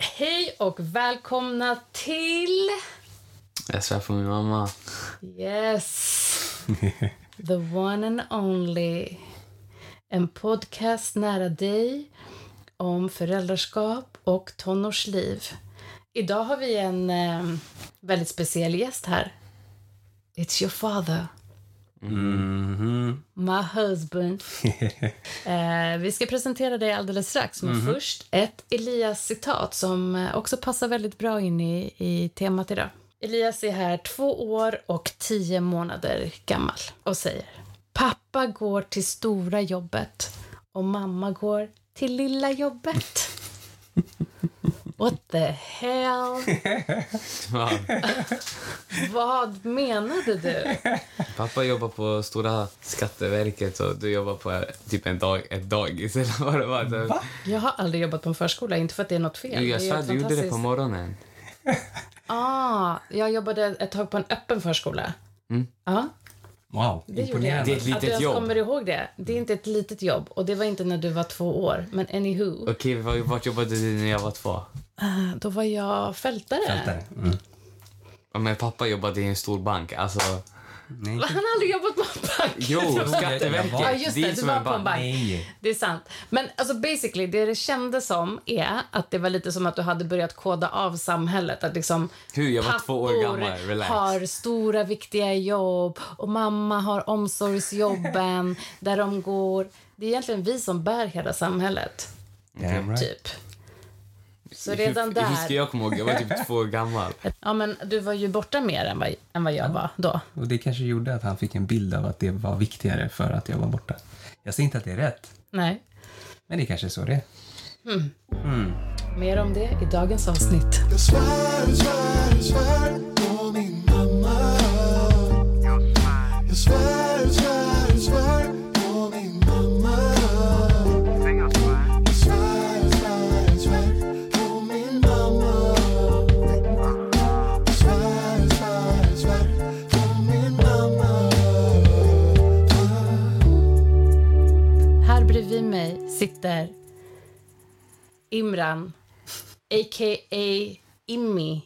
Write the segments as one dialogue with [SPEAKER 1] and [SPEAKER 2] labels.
[SPEAKER 1] Hej och välkomna till...
[SPEAKER 2] Jag svär på min mamma.
[SPEAKER 1] Yes! The one and only. En podcast nära dig om föräldraskap och tonårsliv. Idag har vi en eh, väldigt speciell gäst här. It's your father. My husband. eh, vi ska presentera dig alldeles strax, men
[SPEAKER 2] Mhm.
[SPEAKER 1] först ett Elias-citat som eh, också passar väldigt bra in i, i temat idag. Elias är här två år och tio månader gammal och säger Pappa går till stora jobbet och mamma går till lilla jobbet. What the hell?
[SPEAKER 2] Va?
[SPEAKER 1] Vad menade du?
[SPEAKER 2] Pappa jobbar på stora Skatteverket och du jobbar på typ en dag, ett dagis eller vad det var. Va?
[SPEAKER 1] Jag har aldrig jobbat på en förskola, inte för att det är något fel.
[SPEAKER 2] Jag
[SPEAKER 1] Det är
[SPEAKER 2] svär,
[SPEAKER 1] ett
[SPEAKER 2] du gjorde det på
[SPEAKER 1] fantastiskt-
[SPEAKER 2] morgonen.
[SPEAKER 1] Ah, jag jobbade ett tag på en öppen förskola. Ja,
[SPEAKER 3] Wow,
[SPEAKER 1] det gjorde jag.
[SPEAKER 2] Det är ett litet
[SPEAKER 1] att du ens
[SPEAKER 2] jobb.
[SPEAKER 1] kommer ihåg det. Det är inte ett litet jobb och det var inte när du var två år. Men anywho,
[SPEAKER 2] Okej, var, vart jobbade du när jag var två?
[SPEAKER 1] eh, då var jag fältare.
[SPEAKER 3] Fältare. Mm.
[SPEAKER 2] Ja, men pappa jobbade i en stor bank. Alltså,
[SPEAKER 3] Nej.
[SPEAKER 1] Va, Han har aldrig jobbat på en bank.
[SPEAKER 2] jo, Skatteverket.
[SPEAKER 3] var-
[SPEAKER 1] Ja, just det. Du
[SPEAKER 2] som
[SPEAKER 1] var på en bank.
[SPEAKER 3] Nej.
[SPEAKER 1] Det är sant. Men alltså basically, det det kändes som är att det var lite som att du hade börjat koda av samhället. Att liksom
[SPEAKER 2] Hur? Jag var två år
[SPEAKER 1] pappor
[SPEAKER 2] gammal. Relax.
[SPEAKER 1] har stora viktiga jobb och mamma har omsorgsjobben där de går. Det är egentligen vi som bär hela samhället,
[SPEAKER 3] Damn right.
[SPEAKER 1] typ. Så redan
[SPEAKER 2] hur, Hur ska
[SPEAKER 1] där.
[SPEAKER 2] jag komma ihåg? Jag var typ två år gammal.
[SPEAKER 1] Ja, men du var ju borta mer än vad, än vad jag var då.
[SPEAKER 3] Och det kanske gjorde att han fick en bild av att det var viktigare för att jag var borta. Jag säger inte att det är rätt,
[SPEAKER 1] Nej.
[SPEAKER 3] men det kanske är så det är.
[SPEAKER 1] Mer om det i dagens avsnitt.
[SPEAKER 4] Jag svär, svär, svär på min mamma Jag svär, svär, svär på min mamma Jag svär, svär, svär på min mamma Jag svär, svär, svär på min mamma
[SPEAKER 1] Här bredvid mig sitter Imran, a.k.a. Immi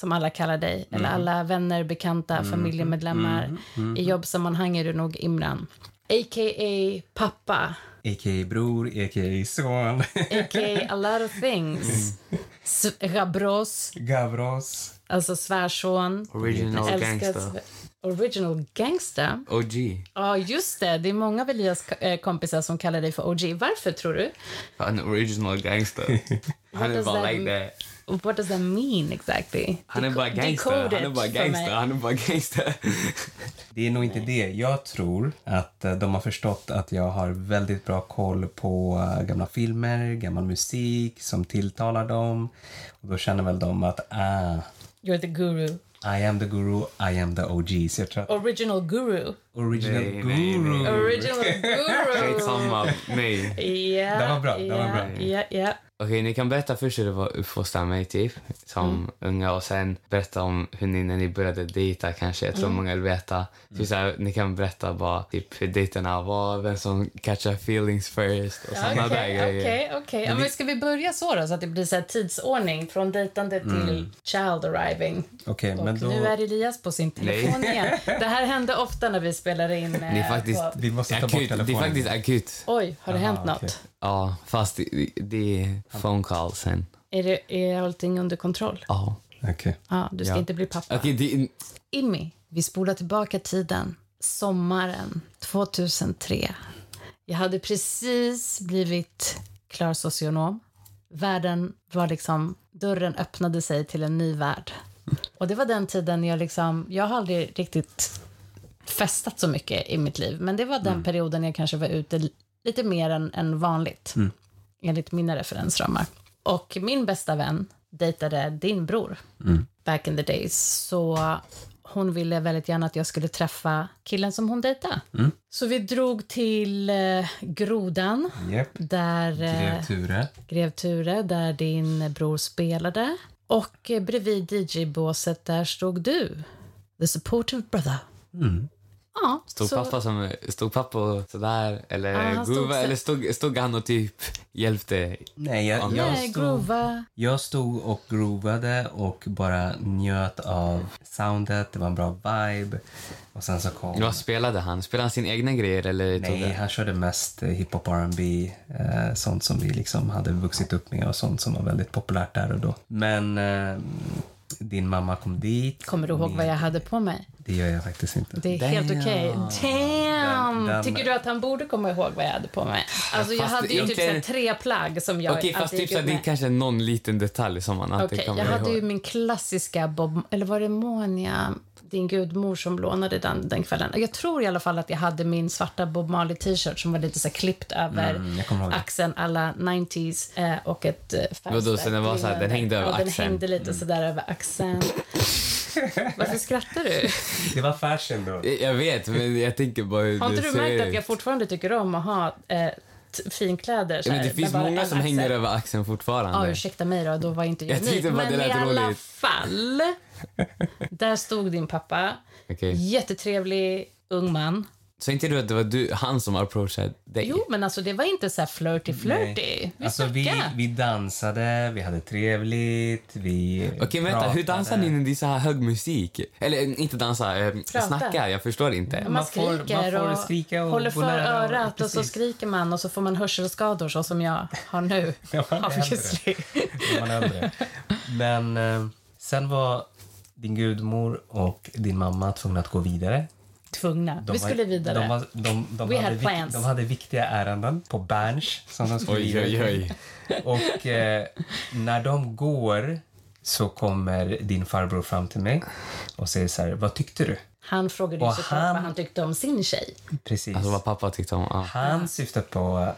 [SPEAKER 1] som alla kallar dig, eller
[SPEAKER 2] Mm.
[SPEAKER 1] alla vänner, bekanta, familjemedlemmar. I jobbsammanhang är du nog Imran. A.k.a. pappa,
[SPEAKER 3] A.k.a. bror, a.k.a. son,
[SPEAKER 1] a.k.a. a lot of things. S- Rabros,
[SPEAKER 3] Gavros.
[SPEAKER 1] alltså svärson.
[SPEAKER 2] Original
[SPEAKER 1] Älskar
[SPEAKER 2] gangster.
[SPEAKER 1] sve- Original gangsta.
[SPEAKER 2] OG.
[SPEAKER 1] Ja, just det. Det är många av Elias k- eh, kompisar som kallar dig för OG. Varför, tror du?
[SPEAKER 2] Fan, original gangster. Han är
[SPEAKER 1] does
[SPEAKER 2] bara
[SPEAKER 1] that
[SPEAKER 2] like
[SPEAKER 1] mean?
[SPEAKER 2] that.
[SPEAKER 1] What does that mean exactly?
[SPEAKER 2] Han är bara
[SPEAKER 1] Deco-
[SPEAKER 2] gangster.
[SPEAKER 1] decode
[SPEAKER 2] Han är
[SPEAKER 1] it
[SPEAKER 2] bara
[SPEAKER 1] för mig.
[SPEAKER 2] gangster. Han är bara gangster.
[SPEAKER 3] Det är nog inte det. Jag tror att eh, de har förstått att jag har väldigt bra koll på eh, gamla filmer, gammal musik som tilltalar dem. Och då känner väl de att ah,
[SPEAKER 1] You're the guru.
[SPEAKER 3] I am the guru, I am the OG. Så jag tror att
[SPEAKER 1] Original guru.
[SPEAKER 3] Original
[SPEAKER 2] Nej, nej,
[SPEAKER 3] Guru.
[SPEAKER 2] nej.
[SPEAKER 1] Original
[SPEAKER 2] Mm.
[SPEAKER 1] guru.
[SPEAKER 2] Skitsamma. Nej.
[SPEAKER 1] Ja,
[SPEAKER 3] Det var bra, det var bra.
[SPEAKER 1] Ja, ja.
[SPEAKER 2] Okej, ni kan berätta först hur det var att uppfostra mig typ, som
[SPEAKER 1] Mm.
[SPEAKER 2] unga och sen berätta om hur ni när ni började dejta kanske. Jag tror
[SPEAKER 1] Mm.
[SPEAKER 2] många vill veta. Typ så här, ni kan berätta bara typ, hur dejterna var, vem som catchar feelings first och sådana där
[SPEAKER 1] Okej,
[SPEAKER 2] grejer.
[SPEAKER 1] okej, okej. Ja, men Ska vi börja så då, så att det blir så här tidsordning från dejtande
[SPEAKER 2] Mm.
[SPEAKER 1] till child arriving?
[SPEAKER 3] Okej,
[SPEAKER 1] Och
[SPEAKER 3] men då...
[SPEAKER 1] nu är Elias på sin telefon igen. Det här hände ofta när vi spelar in. eh,
[SPEAKER 2] Ni är faktiskt
[SPEAKER 1] på...
[SPEAKER 3] Vi måste ta bort
[SPEAKER 2] akut. Det är
[SPEAKER 3] telefonen.
[SPEAKER 2] faktiskt akut.
[SPEAKER 1] Oj, har det
[SPEAKER 3] Aha,
[SPEAKER 1] hänt något?
[SPEAKER 3] okej.
[SPEAKER 2] Ja, fast det, det är phone call sen.
[SPEAKER 1] Är, det, är allting under kontroll?
[SPEAKER 2] Ja.
[SPEAKER 3] Okej.
[SPEAKER 1] Ja, du ska inte bli pappa.
[SPEAKER 2] Okej, det,
[SPEAKER 1] Immi, vi spolar tillbaka tiden. Sommaren 2003. Jag hade precis blivit klar socionom. Världen var liksom... Dörren öppnade sig till en ny värld. Och det var den tiden jag liksom... Jag har aldrig riktigt festat så mycket i mitt liv. Men det var den perioden jag kanske var ute li- lite mer än, än vanligt. Enligt mina referensramar. Och min bästa vän dejtade din bror
[SPEAKER 3] Mm.
[SPEAKER 1] back in the days. Så hon ville väldigt gärna att jag skulle träffa killen som hon dejtade.
[SPEAKER 2] Mm.
[SPEAKER 1] Så vi drog till eh, Grodan,
[SPEAKER 3] Japp.
[SPEAKER 1] där eh,
[SPEAKER 3] Grev Ture.
[SPEAKER 1] Grev Ture, där din bror spelade. Och
[SPEAKER 3] Mm.
[SPEAKER 1] eh, bredvid DJ-båset där stod du, the supportive brother. Ja,
[SPEAKER 2] Stod
[SPEAKER 1] så-
[SPEAKER 2] pappa som stod pappa och sådär? Eller,
[SPEAKER 1] Ja, han stod
[SPEAKER 2] groova,
[SPEAKER 1] så-
[SPEAKER 2] eller stod, stod han och typ hjälpte?
[SPEAKER 3] Nej, jag, jag,
[SPEAKER 1] Nej,
[SPEAKER 3] stod,
[SPEAKER 1] grova.
[SPEAKER 3] jag stod och groovade och bara njöt av soundet. Det var en bra vibe. Och sen så kom...
[SPEAKER 2] Vad spelade han? Spelade han sina egna grejer? Eller tog
[SPEAKER 3] Nej,
[SPEAKER 2] det?
[SPEAKER 3] han körde mest eh, hiphop, R&B, eh, sånt som vi liksom hade vuxit upp med och sånt som var väldigt populärt där och då. Men eh, din mamma kom dit.
[SPEAKER 1] Kommer du ihåg vad jag hade på mig?
[SPEAKER 3] Det gör jag faktiskt inte.
[SPEAKER 1] Det är
[SPEAKER 2] Damn.
[SPEAKER 1] helt okej. Damn!
[SPEAKER 3] Den- den-
[SPEAKER 1] Tycker du att han borde komma ihåg vad jag hade på mig? Alltså, jag
[SPEAKER 2] Fast
[SPEAKER 1] hade ju typ
[SPEAKER 2] inte-
[SPEAKER 1] så här tre plagg som jag
[SPEAKER 2] Okej, fast
[SPEAKER 1] alltid
[SPEAKER 2] typ
[SPEAKER 1] gick
[SPEAKER 2] såhär,
[SPEAKER 1] ut
[SPEAKER 2] det är
[SPEAKER 1] med.
[SPEAKER 2] kanske någon liten detalj som man alltid
[SPEAKER 1] alltså, Okej,
[SPEAKER 2] kommer
[SPEAKER 1] jag hade
[SPEAKER 2] ihåg.
[SPEAKER 1] ju min klassiska Bob, eller var det Monia, din gudmor som lånade den den kvällen. Jag tror i alla fall att jag hade min svarta Bob Marley t-shirt som var lite så här klippt över
[SPEAKER 2] Mm,
[SPEAKER 3] jag kommer ihåg det.
[SPEAKER 1] axeln alla 90s eh, och ett eh, fönster.
[SPEAKER 2] Vadå, så den var så här, den hängde över
[SPEAKER 1] ja,
[SPEAKER 2] axeln? Mm.
[SPEAKER 1] den hängde lite sådär över axeln. Varför skrattar du?
[SPEAKER 3] Det var fashion då.
[SPEAKER 2] Jag- Jag vet, men jag tänker bara hur
[SPEAKER 1] Har inte
[SPEAKER 2] det
[SPEAKER 1] du
[SPEAKER 2] ser
[SPEAKER 1] märkt att
[SPEAKER 2] ut.
[SPEAKER 1] jag fortfarande tycker om att ha eh, t- finkläder? Så
[SPEAKER 2] Ja, men
[SPEAKER 1] här,
[SPEAKER 2] det
[SPEAKER 1] med
[SPEAKER 2] finns
[SPEAKER 1] bara
[SPEAKER 2] många
[SPEAKER 1] en
[SPEAKER 2] som
[SPEAKER 1] axel?
[SPEAKER 2] hänger över axeln fortfarande.
[SPEAKER 1] Ja, ursäkta mig då, då var inte jag,
[SPEAKER 2] Jag tyckte
[SPEAKER 1] unik.
[SPEAKER 2] bara det
[SPEAKER 1] Men i
[SPEAKER 2] lät
[SPEAKER 1] alla
[SPEAKER 2] roligt.
[SPEAKER 1] fall, där stod din pappa.
[SPEAKER 2] Okej.
[SPEAKER 1] Jättetrevlig ung man.
[SPEAKER 2] Så inte du att det var du, han som approachade dig?
[SPEAKER 1] Jo, men alltså det var inte så här flirty flirty. Vi
[SPEAKER 3] Alltså, vi,
[SPEAKER 1] snackade.
[SPEAKER 3] vi dansade, vi hade trevligt, vi
[SPEAKER 2] Okej, men vänta, hur dansar ni när det är så här hög musik? Eller inte dansa, eh, snacka. Jag förstår inte.
[SPEAKER 1] man,
[SPEAKER 3] man får-
[SPEAKER 1] skriker
[SPEAKER 3] man får
[SPEAKER 1] och,
[SPEAKER 3] skrika och
[SPEAKER 1] håller
[SPEAKER 3] gå
[SPEAKER 1] för
[SPEAKER 3] nära och-
[SPEAKER 1] örat och så
[SPEAKER 3] precis.
[SPEAKER 1] skriker man och så får man hörselskador så som jag har nu.
[SPEAKER 3] Ja, det händer.
[SPEAKER 1] Obviously.
[SPEAKER 3] när man är äldre. Men eh, sen var din gudmor och din mamma tvungna att gå vidare.
[SPEAKER 1] Tvungna.
[SPEAKER 3] De
[SPEAKER 1] vi
[SPEAKER 3] var-
[SPEAKER 1] skulle vidare.
[SPEAKER 3] De, var, de, de,
[SPEAKER 1] We
[SPEAKER 3] hade
[SPEAKER 1] had
[SPEAKER 3] vik,
[SPEAKER 1] plans.
[SPEAKER 3] de hade viktiga ärenden på Berns som de skulle
[SPEAKER 2] Oj,
[SPEAKER 3] vidare
[SPEAKER 2] oj, oj.
[SPEAKER 3] Och eh, när de går så kommer din farbror fram till mig och säger så här, vad tyckte du?
[SPEAKER 1] Han frågade ju
[SPEAKER 3] Och
[SPEAKER 1] såklart
[SPEAKER 3] han-
[SPEAKER 1] vad han tyckte om sin tjej.
[SPEAKER 3] Precis.
[SPEAKER 2] Alltså vad pappa tyckte om ah,
[SPEAKER 3] Han syftar på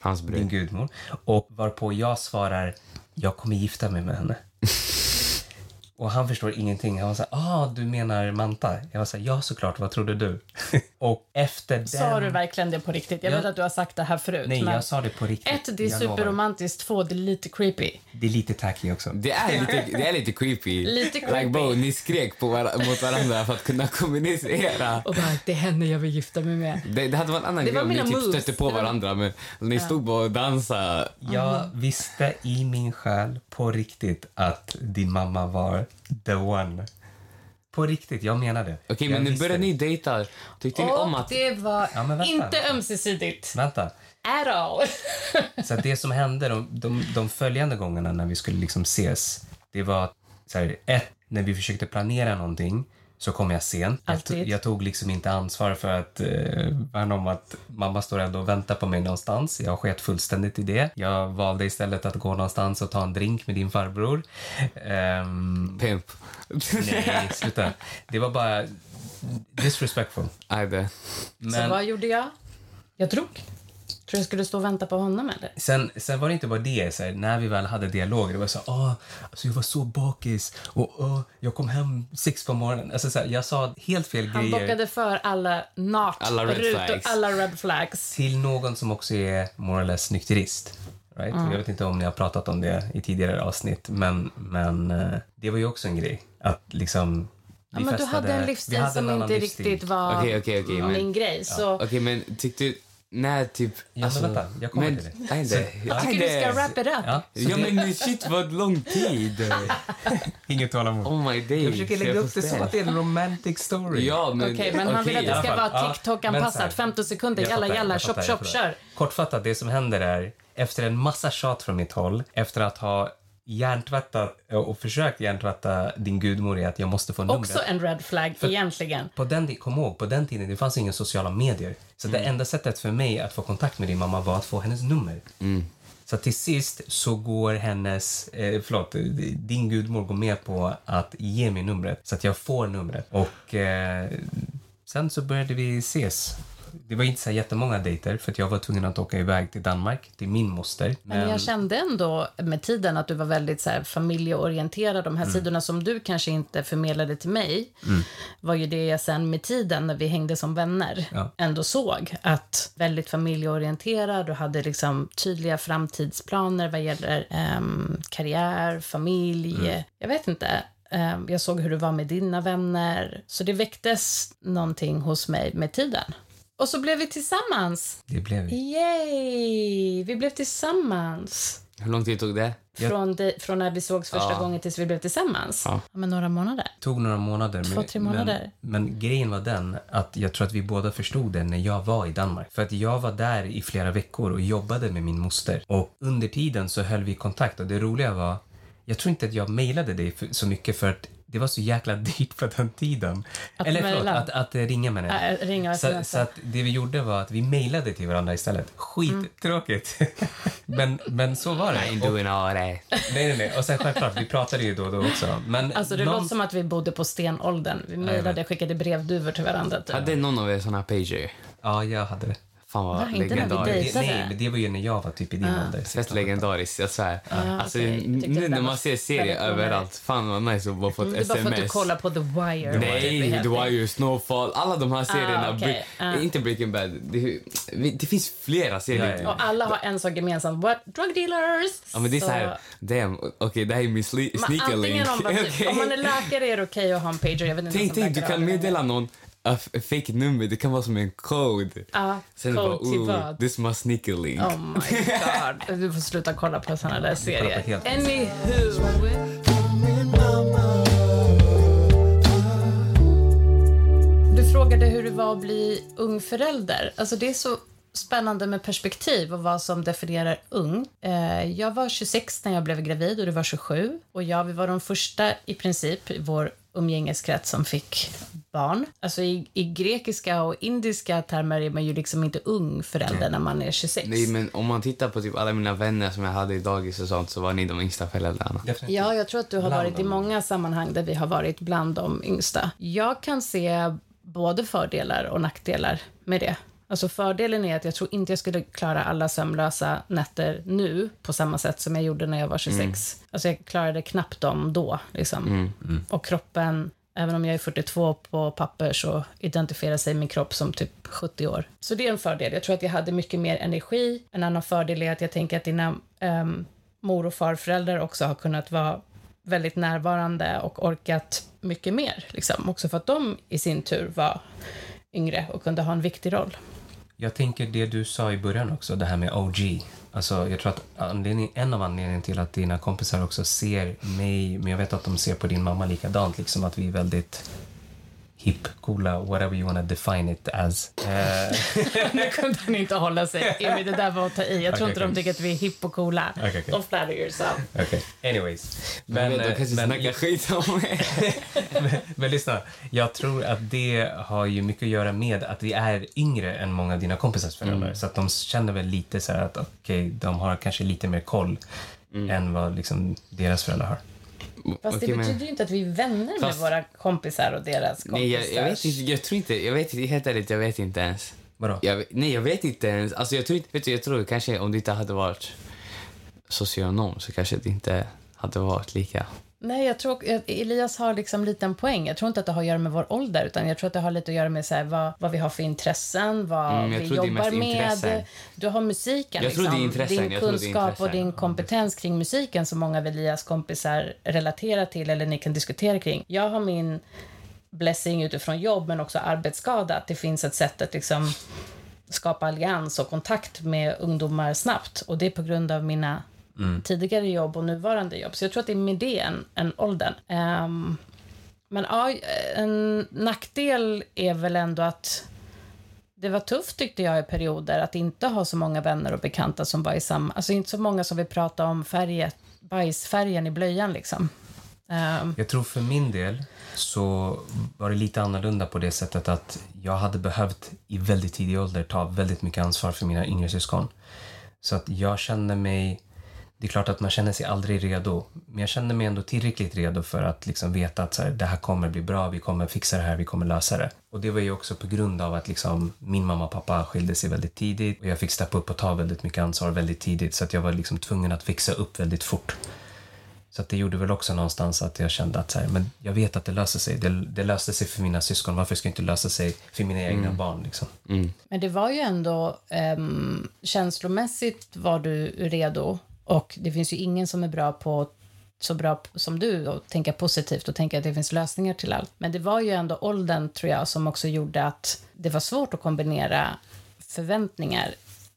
[SPEAKER 2] hans
[SPEAKER 3] din
[SPEAKER 2] brud.
[SPEAKER 3] gudmor och varpå jag svarar, jag kommer gifta mig med henne. och han förstår ingenting. Han var så här, ah du menar Manta? Jag var så här, ja såklart, vad trodde du? och efter den...
[SPEAKER 1] Sa du verkligen det på riktigt? Jag
[SPEAKER 3] Ja.
[SPEAKER 1] vet att du har sagt det här förut.
[SPEAKER 3] Nej,
[SPEAKER 1] men-
[SPEAKER 3] jag sa det på riktigt.
[SPEAKER 1] Ett, det är
[SPEAKER 3] Jag lovar.
[SPEAKER 1] superromantiskt. Två, det är lite creepy.
[SPEAKER 3] Det är lite tacky också.
[SPEAKER 2] Det är lite, det är lite creepy.
[SPEAKER 1] Lite
[SPEAKER 2] Like
[SPEAKER 1] creepy.
[SPEAKER 2] bro, ni skrek på var- mot varandra för att kunna kommunicera.
[SPEAKER 1] Och bara, det är henne jag vill gifta mig med.
[SPEAKER 2] Det, det hade varit en annan
[SPEAKER 1] Det
[SPEAKER 2] grej
[SPEAKER 1] var
[SPEAKER 2] om ni
[SPEAKER 1] mina
[SPEAKER 2] typ
[SPEAKER 1] moves.
[SPEAKER 2] stötte på
[SPEAKER 1] Det var-
[SPEAKER 2] varandra men ni stod bara och dansade.
[SPEAKER 3] Jag visste i min själ på riktigt att din mamma var the one. På riktigt, jag menar det.
[SPEAKER 2] Okej,
[SPEAKER 3] Jag
[SPEAKER 2] men nu
[SPEAKER 3] visste
[SPEAKER 2] började
[SPEAKER 3] det.
[SPEAKER 2] ni dejta. Tyckte ni
[SPEAKER 1] Och
[SPEAKER 2] om att...
[SPEAKER 1] det var
[SPEAKER 3] Ja, men vänta.
[SPEAKER 1] inte ömsesidigt.
[SPEAKER 3] Vänta.
[SPEAKER 1] At all.
[SPEAKER 3] Så att det som hände de, de, de följande gångerna när vi skulle liksom ses, det var att, så här, ett, när vi försökte planera någonting så kom jag sent. Jag, to-
[SPEAKER 1] Alltid.
[SPEAKER 3] jag tog liksom inte ansvar för att eh, värna om att mamma står ändå och väntar på mig någonstans. Jag sket fullständigt i det. Jag valde istället att gå någonstans och ta en drink med din farbror. Ehm,
[SPEAKER 2] Pimp.
[SPEAKER 3] nej, sluta. Det var bara disrespectful.
[SPEAKER 2] Aj, det.
[SPEAKER 1] Så
[SPEAKER 3] Men
[SPEAKER 1] vad gjorde jag? Jag drog. Tror du jag skulle stå och vänta på honom eller?
[SPEAKER 3] Sen, sen var det inte bara det, så här, när vi väl hade dialoger, det var så här, ah, alltså jag var så bakis och ah, jag kom hem sex på morgonen. Alltså, så här, jag sa helt fel
[SPEAKER 1] Han
[SPEAKER 3] grejer
[SPEAKER 1] bockade för alla not
[SPEAKER 2] Alla red
[SPEAKER 1] rutor,
[SPEAKER 2] flags.
[SPEAKER 1] alla red flags.
[SPEAKER 3] till någon som också är more or less nykterist. Right? Jag vet inte om ni har pratat om det i tidigare avsnitt, men, men eh, det var ju också en grej. Att liksom,
[SPEAKER 1] Ja, men du hade en livsstil som inte riktigt var
[SPEAKER 2] Okej, okej, okej, men-
[SPEAKER 1] min grej. Så
[SPEAKER 2] Okej, men tyckte du... När typ...
[SPEAKER 3] men vänta, jag kommer till det.
[SPEAKER 2] Aj, det.
[SPEAKER 1] jag
[SPEAKER 2] Aj,
[SPEAKER 1] tycker du
[SPEAKER 2] det.
[SPEAKER 1] ska wrap it up.
[SPEAKER 3] Ja, så
[SPEAKER 2] Ja,
[SPEAKER 3] det,
[SPEAKER 2] men shit vad lång tid.
[SPEAKER 3] inget tålamod.
[SPEAKER 2] Oh my days.
[SPEAKER 3] jag försöker lägga upp det
[SPEAKER 2] förstår.
[SPEAKER 3] som att det är en romantic story.
[SPEAKER 2] Ja, men...
[SPEAKER 1] Okej, men han vill att
[SPEAKER 2] okej.
[SPEAKER 1] det ska
[SPEAKER 3] alla fall.
[SPEAKER 1] vara
[SPEAKER 3] Ja, men så här.
[SPEAKER 1] TikTok-anpassat. 15 sekunder,
[SPEAKER 3] Jag
[SPEAKER 1] jalla,
[SPEAKER 3] fattar,
[SPEAKER 1] jalla,
[SPEAKER 3] jag
[SPEAKER 1] chop,
[SPEAKER 3] fattar, jag
[SPEAKER 1] chop,
[SPEAKER 3] fattar.
[SPEAKER 1] kör.
[SPEAKER 3] Kortfattat, det som händer är, efter en massa tjat från mitt håll, efter att ha hjärntvättat och försökt hjärntvätta din gudmor i att jag måste få numret.
[SPEAKER 1] Också en red flag egentligen.
[SPEAKER 3] På den, kom ihåg, på den tiden det fanns inga sociala medier. Så det enda sättet för mig att få kontakt med din mamma var att få hennes nummer. Så till sist så går hennes, eh, förlåt, din gudmor går med på att ge mig numret så att jag får numret. Och eh, sen så började vi ses. Det var inte så här jättemånga dejter för att jag var tvungen att åka iväg till Danmark, till min moster.
[SPEAKER 1] Men jag kände ändå med tiden att du var väldigt så här, familjeorienterad. De här sidorna som du kanske inte förmedlade till mig var ju det jag sen med tiden när vi hängde som vänner
[SPEAKER 3] Ja.
[SPEAKER 1] ändå såg. Att väldigt familjeorienterad och hade liksom tydliga framtidsplaner vad gäller ehm, karriär, familj. Jag vet inte. Eh, Jag såg hur du var med dina vänner. Så det väcktes någonting hos mig med tiden. Och så blev vi tillsammans.
[SPEAKER 3] Det blev vi.
[SPEAKER 1] Yay! Vi blev tillsammans.
[SPEAKER 2] Hur lång tid tog det?
[SPEAKER 3] Jag-
[SPEAKER 1] Från, det, från när vi sågs första
[SPEAKER 2] Ja.
[SPEAKER 1] gången tills vi blev tillsammans.
[SPEAKER 2] Ja.
[SPEAKER 1] Men några månader.
[SPEAKER 3] tog några månader.
[SPEAKER 1] Två,
[SPEAKER 3] men-
[SPEAKER 1] tre månader.
[SPEAKER 3] Men, men grejen var den att jag tror att vi båda förstod det när jag var i Danmark. För att jag var där i flera veckor och jobbade med min moster. Och under tiden så höll vi kontakt och det roliga var, jag tror inte att jag mejlade dig för, så mycket för att det var så jäkla dyrt på den tiden.
[SPEAKER 1] Att
[SPEAKER 3] Eller
[SPEAKER 1] mejla?
[SPEAKER 3] förlåt, att, att eh, ringa menar jag.
[SPEAKER 1] Äh, ringa och
[SPEAKER 3] Så, så
[SPEAKER 1] smsa.
[SPEAKER 3] att det vi gjorde var att vi mejlade till varandra istället. Skittråkigt.
[SPEAKER 1] Mm.
[SPEAKER 3] men, men så var det.
[SPEAKER 2] I ain't doing all that.
[SPEAKER 3] nej, nej, nej. Och sen självklart, vi pratade ju då och då också. Men
[SPEAKER 1] Alltså det
[SPEAKER 3] någonstans-
[SPEAKER 1] låter som att vi bodde på stenåldern. Vi mejlade, skickade brevduvor till varandra. Typ.
[SPEAKER 2] Hade någon av er såna pager?
[SPEAKER 3] Ja, jag hade det.
[SPEAKER 2] Fan vad
[SPEAKER 1] Va, inte när vi
[SPEAKER 2] legendariskt.
[SPEAKER 1] dejtade.
[SPEAKER 3] Det,
[SPEAKER 1] Dejtade?
[SPEAKER 3] nej, men det var ju när jag var typ i din ålder.
[SPEAKER 2] Fett legendariskt, jag svär. alltså,
[SPEAKER 1] okej. Jag tyckte det
[SPEAKER 2] nu
[SPEAKER 1] där
[SPEAKER 2] när
[SPEAKER 1] var
[SPEAKER 2] man ser serier
[SPEAKER 1] väldigt onödigt.
[SPEAKER 2] överallt, fan vad nice att bara få ett
[SPEAKER 1] Det är
[SPEAKER 2] sms.
[SPEAKER 1] bara för att du kollar på The Wire. Det är
[SPEAKER 2] Nej,
[SPEAKER 1] helt
[SPEAKER 2] The
[SPEAKER 1] enkelt.
[SPEAKER 2] Wire, Snowfall, alla de här serierna.
[SPEAKER 1] Ah, okej.
[SPEAKER 2] Bre-
[SPEAKER 1] Ah.
[SPEAKER 2] Inte Breaking Bad. Det, det finns flera serier.
[SPEAKER 3] Ja,
[SPEAKER 2] Ja,
[SPEAKER 3] ja.
[SPEAKER 1] Och alla har en sak gemensamt. What? Drug dealers!
[SPEAKER 2] men det är
[SPEAKER 1] Så-
[SPEAKER 2] så här, damn, okej det här är min sli-
[SPEAKER 1] Men
[SPEAKER 2] sneaker
[SPEAKER 1] antingen
[SPEAKER 2] link.
[SPEAKER 1] om, man, typ,
[SPEAKER 2] Okej.
[SPEAKER 1] om man är läkare är det okej att ha en pager. Jag vet inte ens
[SPEAKER 2] Tänk,
[SPEAKER 1] om
[SPEAKER 2] tänk, du
[SPEAKER 1] läkare
[SPEAKER 2] kan
[SPEAKER 1] har det.
[SPEAKER 2] meddela någon a f- a fake nummer, det kan vara som en code.
[SPEAKER 1] Ja,
[SPEAKER 2] Sen
[SPEAKER 1] code
[SPEAKER 2] bara,
[SPEAKER 1] till
[SPEAKER 2] ooh,
[SPEAKER 1] vad?
[SPEAKER 2] this my sneaker link.
[SPEAKER 1] Oh my god. Du får sluta kolla på såna där serier.
[SPEAKER 3] helt-
[SPEAKER 1] Anywho. Du frågade hur det var att bli ung förälder. Alltså det är så spännande med perspektiv och vad som definierar ung. Eh, Jag var 26 när jag blev gravid och du var 27. Och jag, vi var de första i princip i vår umgängeskrets som fick barn. Alltså i, i grekiska och indiska termer är man ju liksom inte ung förälder när man är 26.
[SPEAKER 2] Nej men om man tittar på typ alla mina vänner som jag hade i dagis och sånt så var ni de yngsta föräldrarna.
[SPEAKER 3] Definitivt.
[SPEAKER 1] Ja, jag tror att du har
[SPEAKER 3] Bland
[SPEAKER 1] varit i
[SPEAKER 3] dem.
[SPEAKER 1] många sammanhang där vi har varit bland de yngsta. Jag kan se både fördelar och nackdelar med det. Alltså fördelen är att jag tror inte jag skulle klara alla sömnlösa nätter nu på samma sätt som jag gjorde när jag var 26. Alltså jag klarade knappt dem då. Liksom. Och kroppen, även om jag är 42 på papper så identifierar sig min kropp som typ 70 år. Så det är en fördel. Jag tror att jag hade mycket mer energi. En annan fördel är att jag tänker att dina ehm, mor och farföräldrar också har kunnat vara väldigt närvarande och orkat mycket mer. Liksom. Också för att de i sin tur var yngre och kunde ha en viktig roll.
[SPEAKER 3] Jag tänker det du sa i början också, det här med OG. Alltså, jag tror att anledning, en av anledningarna till att dina kompisar också ser mig, men jag vet att de ser på din mamma likadant, liksom att vi är väldigt hip, coola, whatever you wanna define it as. Eh,
[SPEAKER 1] nu kunde han inte hålla sig. Emil, det där var att ta i. Jag tror
[SPEAKER 3] Okej,
[SPEAKER 1] inte de
[SPEAKER 3] okej.
[SPEAKER 1] tycker att vi är hipp och coola.
[SPEAKER 3] Okej, okej.
[SPEAKER 1] Don't flatter yourself.
[SPEAKER 3] okay. Anyways.
[SPEAKER 2] Men, men, de
[SPEAKER 3] eh,
[SPEAKER 2] kanske snackar skit om mig.
[SPEAKER 3] Men lyssna, jag tror att det har ju mycket att göra med att vi är yngre än många av dina kompisars föräldrar. Så att de känner väl lite så här att okej, de har kanske lite mer koll än vad liksom deras föräldrar har.
[SPEAKER 1] Fast
[SPEAKER 2] Okej,
[SPEAKER 1] det
[SPEAKER 2] men-
[SPEAKER 1] betyder ju inte att vi är vänner
[SPEAKER 2] Fast-
[SPEAKER 1] med våra kompisar och deras kompisar.
[SPEAKER 2] Nej, jag, jag vet inte. Jag tror inte. Jag vet inte. Helt ärligt, jag vet inte ens.
[SPEAKER 3] Vadå?
[SPEAKER 2] Jag, vet- nej, jag vet inte ens. Alltså, jag tror inte, vet du, jag tror kanske om du inte hade varit socionom så kanske det inte hade varit lika.
[SPEAKER 1] Nej, jag tror att Elias har liksom lite en poäng. Jag tror inte att det har att göra med vår ålder, utan jag tror att det har lite att göra med så här, vad, vad vi har för intressen, vad
[SPEAKER 2] Mm, jag
[SPEAKER 1] vi
[SPEAKER 2] tror det är
[SPEAKER 1] jobbar
[SPEAKER 2] mest intressen.
[SPEAKER 1] med. Du har musiken, liksom.
[SPEAKER 2] Jag tror det är intressen,
[SPEAKER 1] din
[SPEAKER 2] jag tror det är
[SPEAKER 1] kunskap och
[SPEAKER 2] intressen.
[SPEAKER 1] din kompetens kring musiken som många av Elias kompisar relaterar till eller ni kan diskutera kring. Jag har min blessing utifrån jobb, men också arbetsskada, att det finns ett sätt att liksom skapa allians och kontakt med ungdomar snabbt. Och det är på grund av mina
[SPEAKER 2] Mm.
[SPEAKER 1] tidigare jobb och nuvarande jobb. Så jag tror att det är med det än, än åldern. Ehm, men ja, en nackdel är väl ändå att det var tufft tyckte jag i perioder att inte ha så många vänner och bekanta som var i samma, alltså inte så många som vill prata om färget, bajsfärgen i blöjan liksom. Ehm,
[SPEAKER 3] Jag tror för min del så var det lite annorlunda på det sättet att jag hade behövt i väldigt tidig ålder ta väldigt mycket ansvar för mina yngre syskon. Så att jag kände mig, det är klart att man känner sig aldrig redo, men jag kände mig ändå tillräckligt redo för att liksom veta att så här, det här kommer bli bra, vi kommer fixa det här, vi kommer lösa det. Och det var ju också på grund av att liksom min mamma och pappa skilde sig väldigt tidigt och jag fick steppa upp och ta väldigt mycket ansvar väldigt tidigt så att jag var liksom tvungen att fixa upp väldigt fort. Så att det gjorde väl också någonstans att jag kände att så här, men jag vet att det löser sig. Det, det löste sig för mina syskon. Varför ska det inte lösa sig för mina
[SPEAKER 2] Mm.
[SPEAKER 3] egna barn? Liksom?
[SPEAKER 1] Men det var ju ändå... ehm, känslomässigt var du redo. Och det finns ju ingen som är bra på att så bra p- som du och tänka positivt och tänka att det finns lösningar till allt. Men det var ju ändå åldern, tror jag, som också gjorde att det var svårt att kombinera förväntningar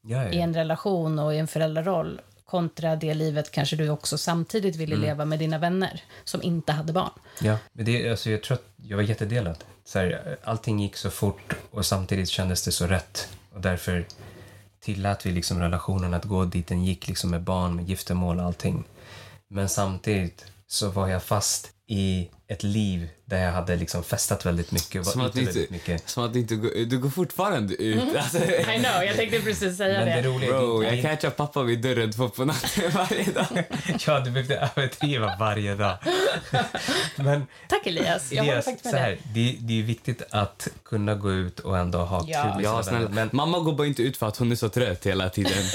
[SPEAKER 3] Ja,
[SPEAKER 1] i
[SPEAKER 3] ja.
[SPEAKER 1] en relation och i en föräldraroll kontra det livet kanske du också samtidigt ville
[SPEAKER 2] Mm.
[SPEAKER 1] leva med dina vänner som inte hade barn.
[SPEAKER 3] ja. Men det, alltså, jag tror att jag var jättedelad. Så här, allting gick så fort och samtidigt kändes det så rätt. Och därför tillät vi liksom relationen att gå dit den gick liksom med barn, med giftermål och allting. Men samtidigt så var jag fast i ett liv där jag hade liksom festat väldigt mycket och
[SPEAKER 2] Som
[SPEAKER 3] var
[SPEAKER 2] att,
[SPEAKER 3] ute
[SPEAKER 2] ni
[SPEAKER 3] väldigt
[SPEAKER 2] inte,
[SPEAKER 3] mycket.
[SPEAKER 2] som att ni inte går, du går fortfarande ut. Alltså,
[SPEAKER 1] I know, jag tänkte precis säga
[SPEAKER 3] Men det
[SPEAKER 1] det.
[SPEAKER 3] roliga är
[SPEAKER 2] bro,
[SPEAKER 3] det är
[SPEAKER 2] jag catchar pappa vid dörren två på natten varje dag.
[SPEAKER 3] Ja, du behövde överdriva varje dag. Men
[SPEAKER 1] Tack Elias, jag håller
[SPEAKER 3] Elias,
[SPEAKER 1] faktiskt
[SPEAKER 3] så
[SPEAKER 1] med dig.
[SPEAKER 3] här, det, det är viktigt att kunna gå ut och ändå ha
[SPEAKER 1] Ja.
[SPEAKER 3] kul med
[SPEAKER 2] Ja,
[SPEAKER 3] sina vänner.
[SPEAKER 2] snälla. Mamma går bara inte ut för att hon är så trött hela tiden.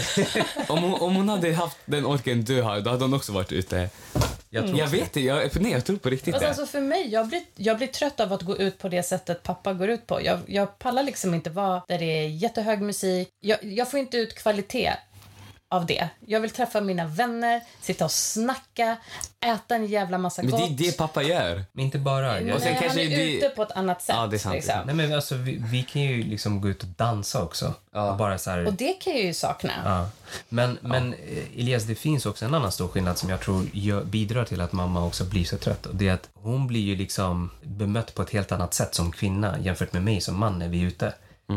[SPEAKER 2] om, hon, om hon hade haft den orken du har, då hade hon också varit ute.
[SPEAKER 3] Jag tror
[SPEAKER 2] Jag vet det. Jag, nej, jag tror på riktigt
[SPEAKER 1] Fast
[SPEAKER 2] det.
[SPEAKER 1] alltså för mig, jag blir, jag blir trött av att gå ut på det sättet pappa går ut på. Jag, jag pallar liksom inte vara där det är jättehög musik. Jag, jag får inte ut kvalitet av det. Jag vill träffa mina vänner, sitta och snacka, äta en jävla massa
[SPEAKER 2] Men
[SPEAKER 1] gott.
[SPEAKER 2] det är det pappa gör.
[SPEAKER 3] Men inte bara. Jag,
[SPEAKER 1] Nej,
[SPEAKER 2] Och sen kanske
[SPEAKER 1] han är
[SPEAKER 2] det-
[SPEAKER 1] ute på ett annat sätt.
[SPEAKER 2] Ja, det är sant, det är
[SPEAKER 1] liksom.
[SPEAKER 2] sant.
[SPEAKER 3] nej, men alltså, vi, vi kan ju liksom gå ut och dansa också. Och bara så här,
[SPEAKER 1] Och det kan jag ju sakna.
[SPEAKER 3] ja. Men, men eh, Elias, det finns också en annan stor skillnad som jag tror gör, bidrar till att mamma också blir så trött. Och det är att hon blir ju liksom bemött på ett helt annat sätt som kvinna jämfört med mig som man när vi är ute.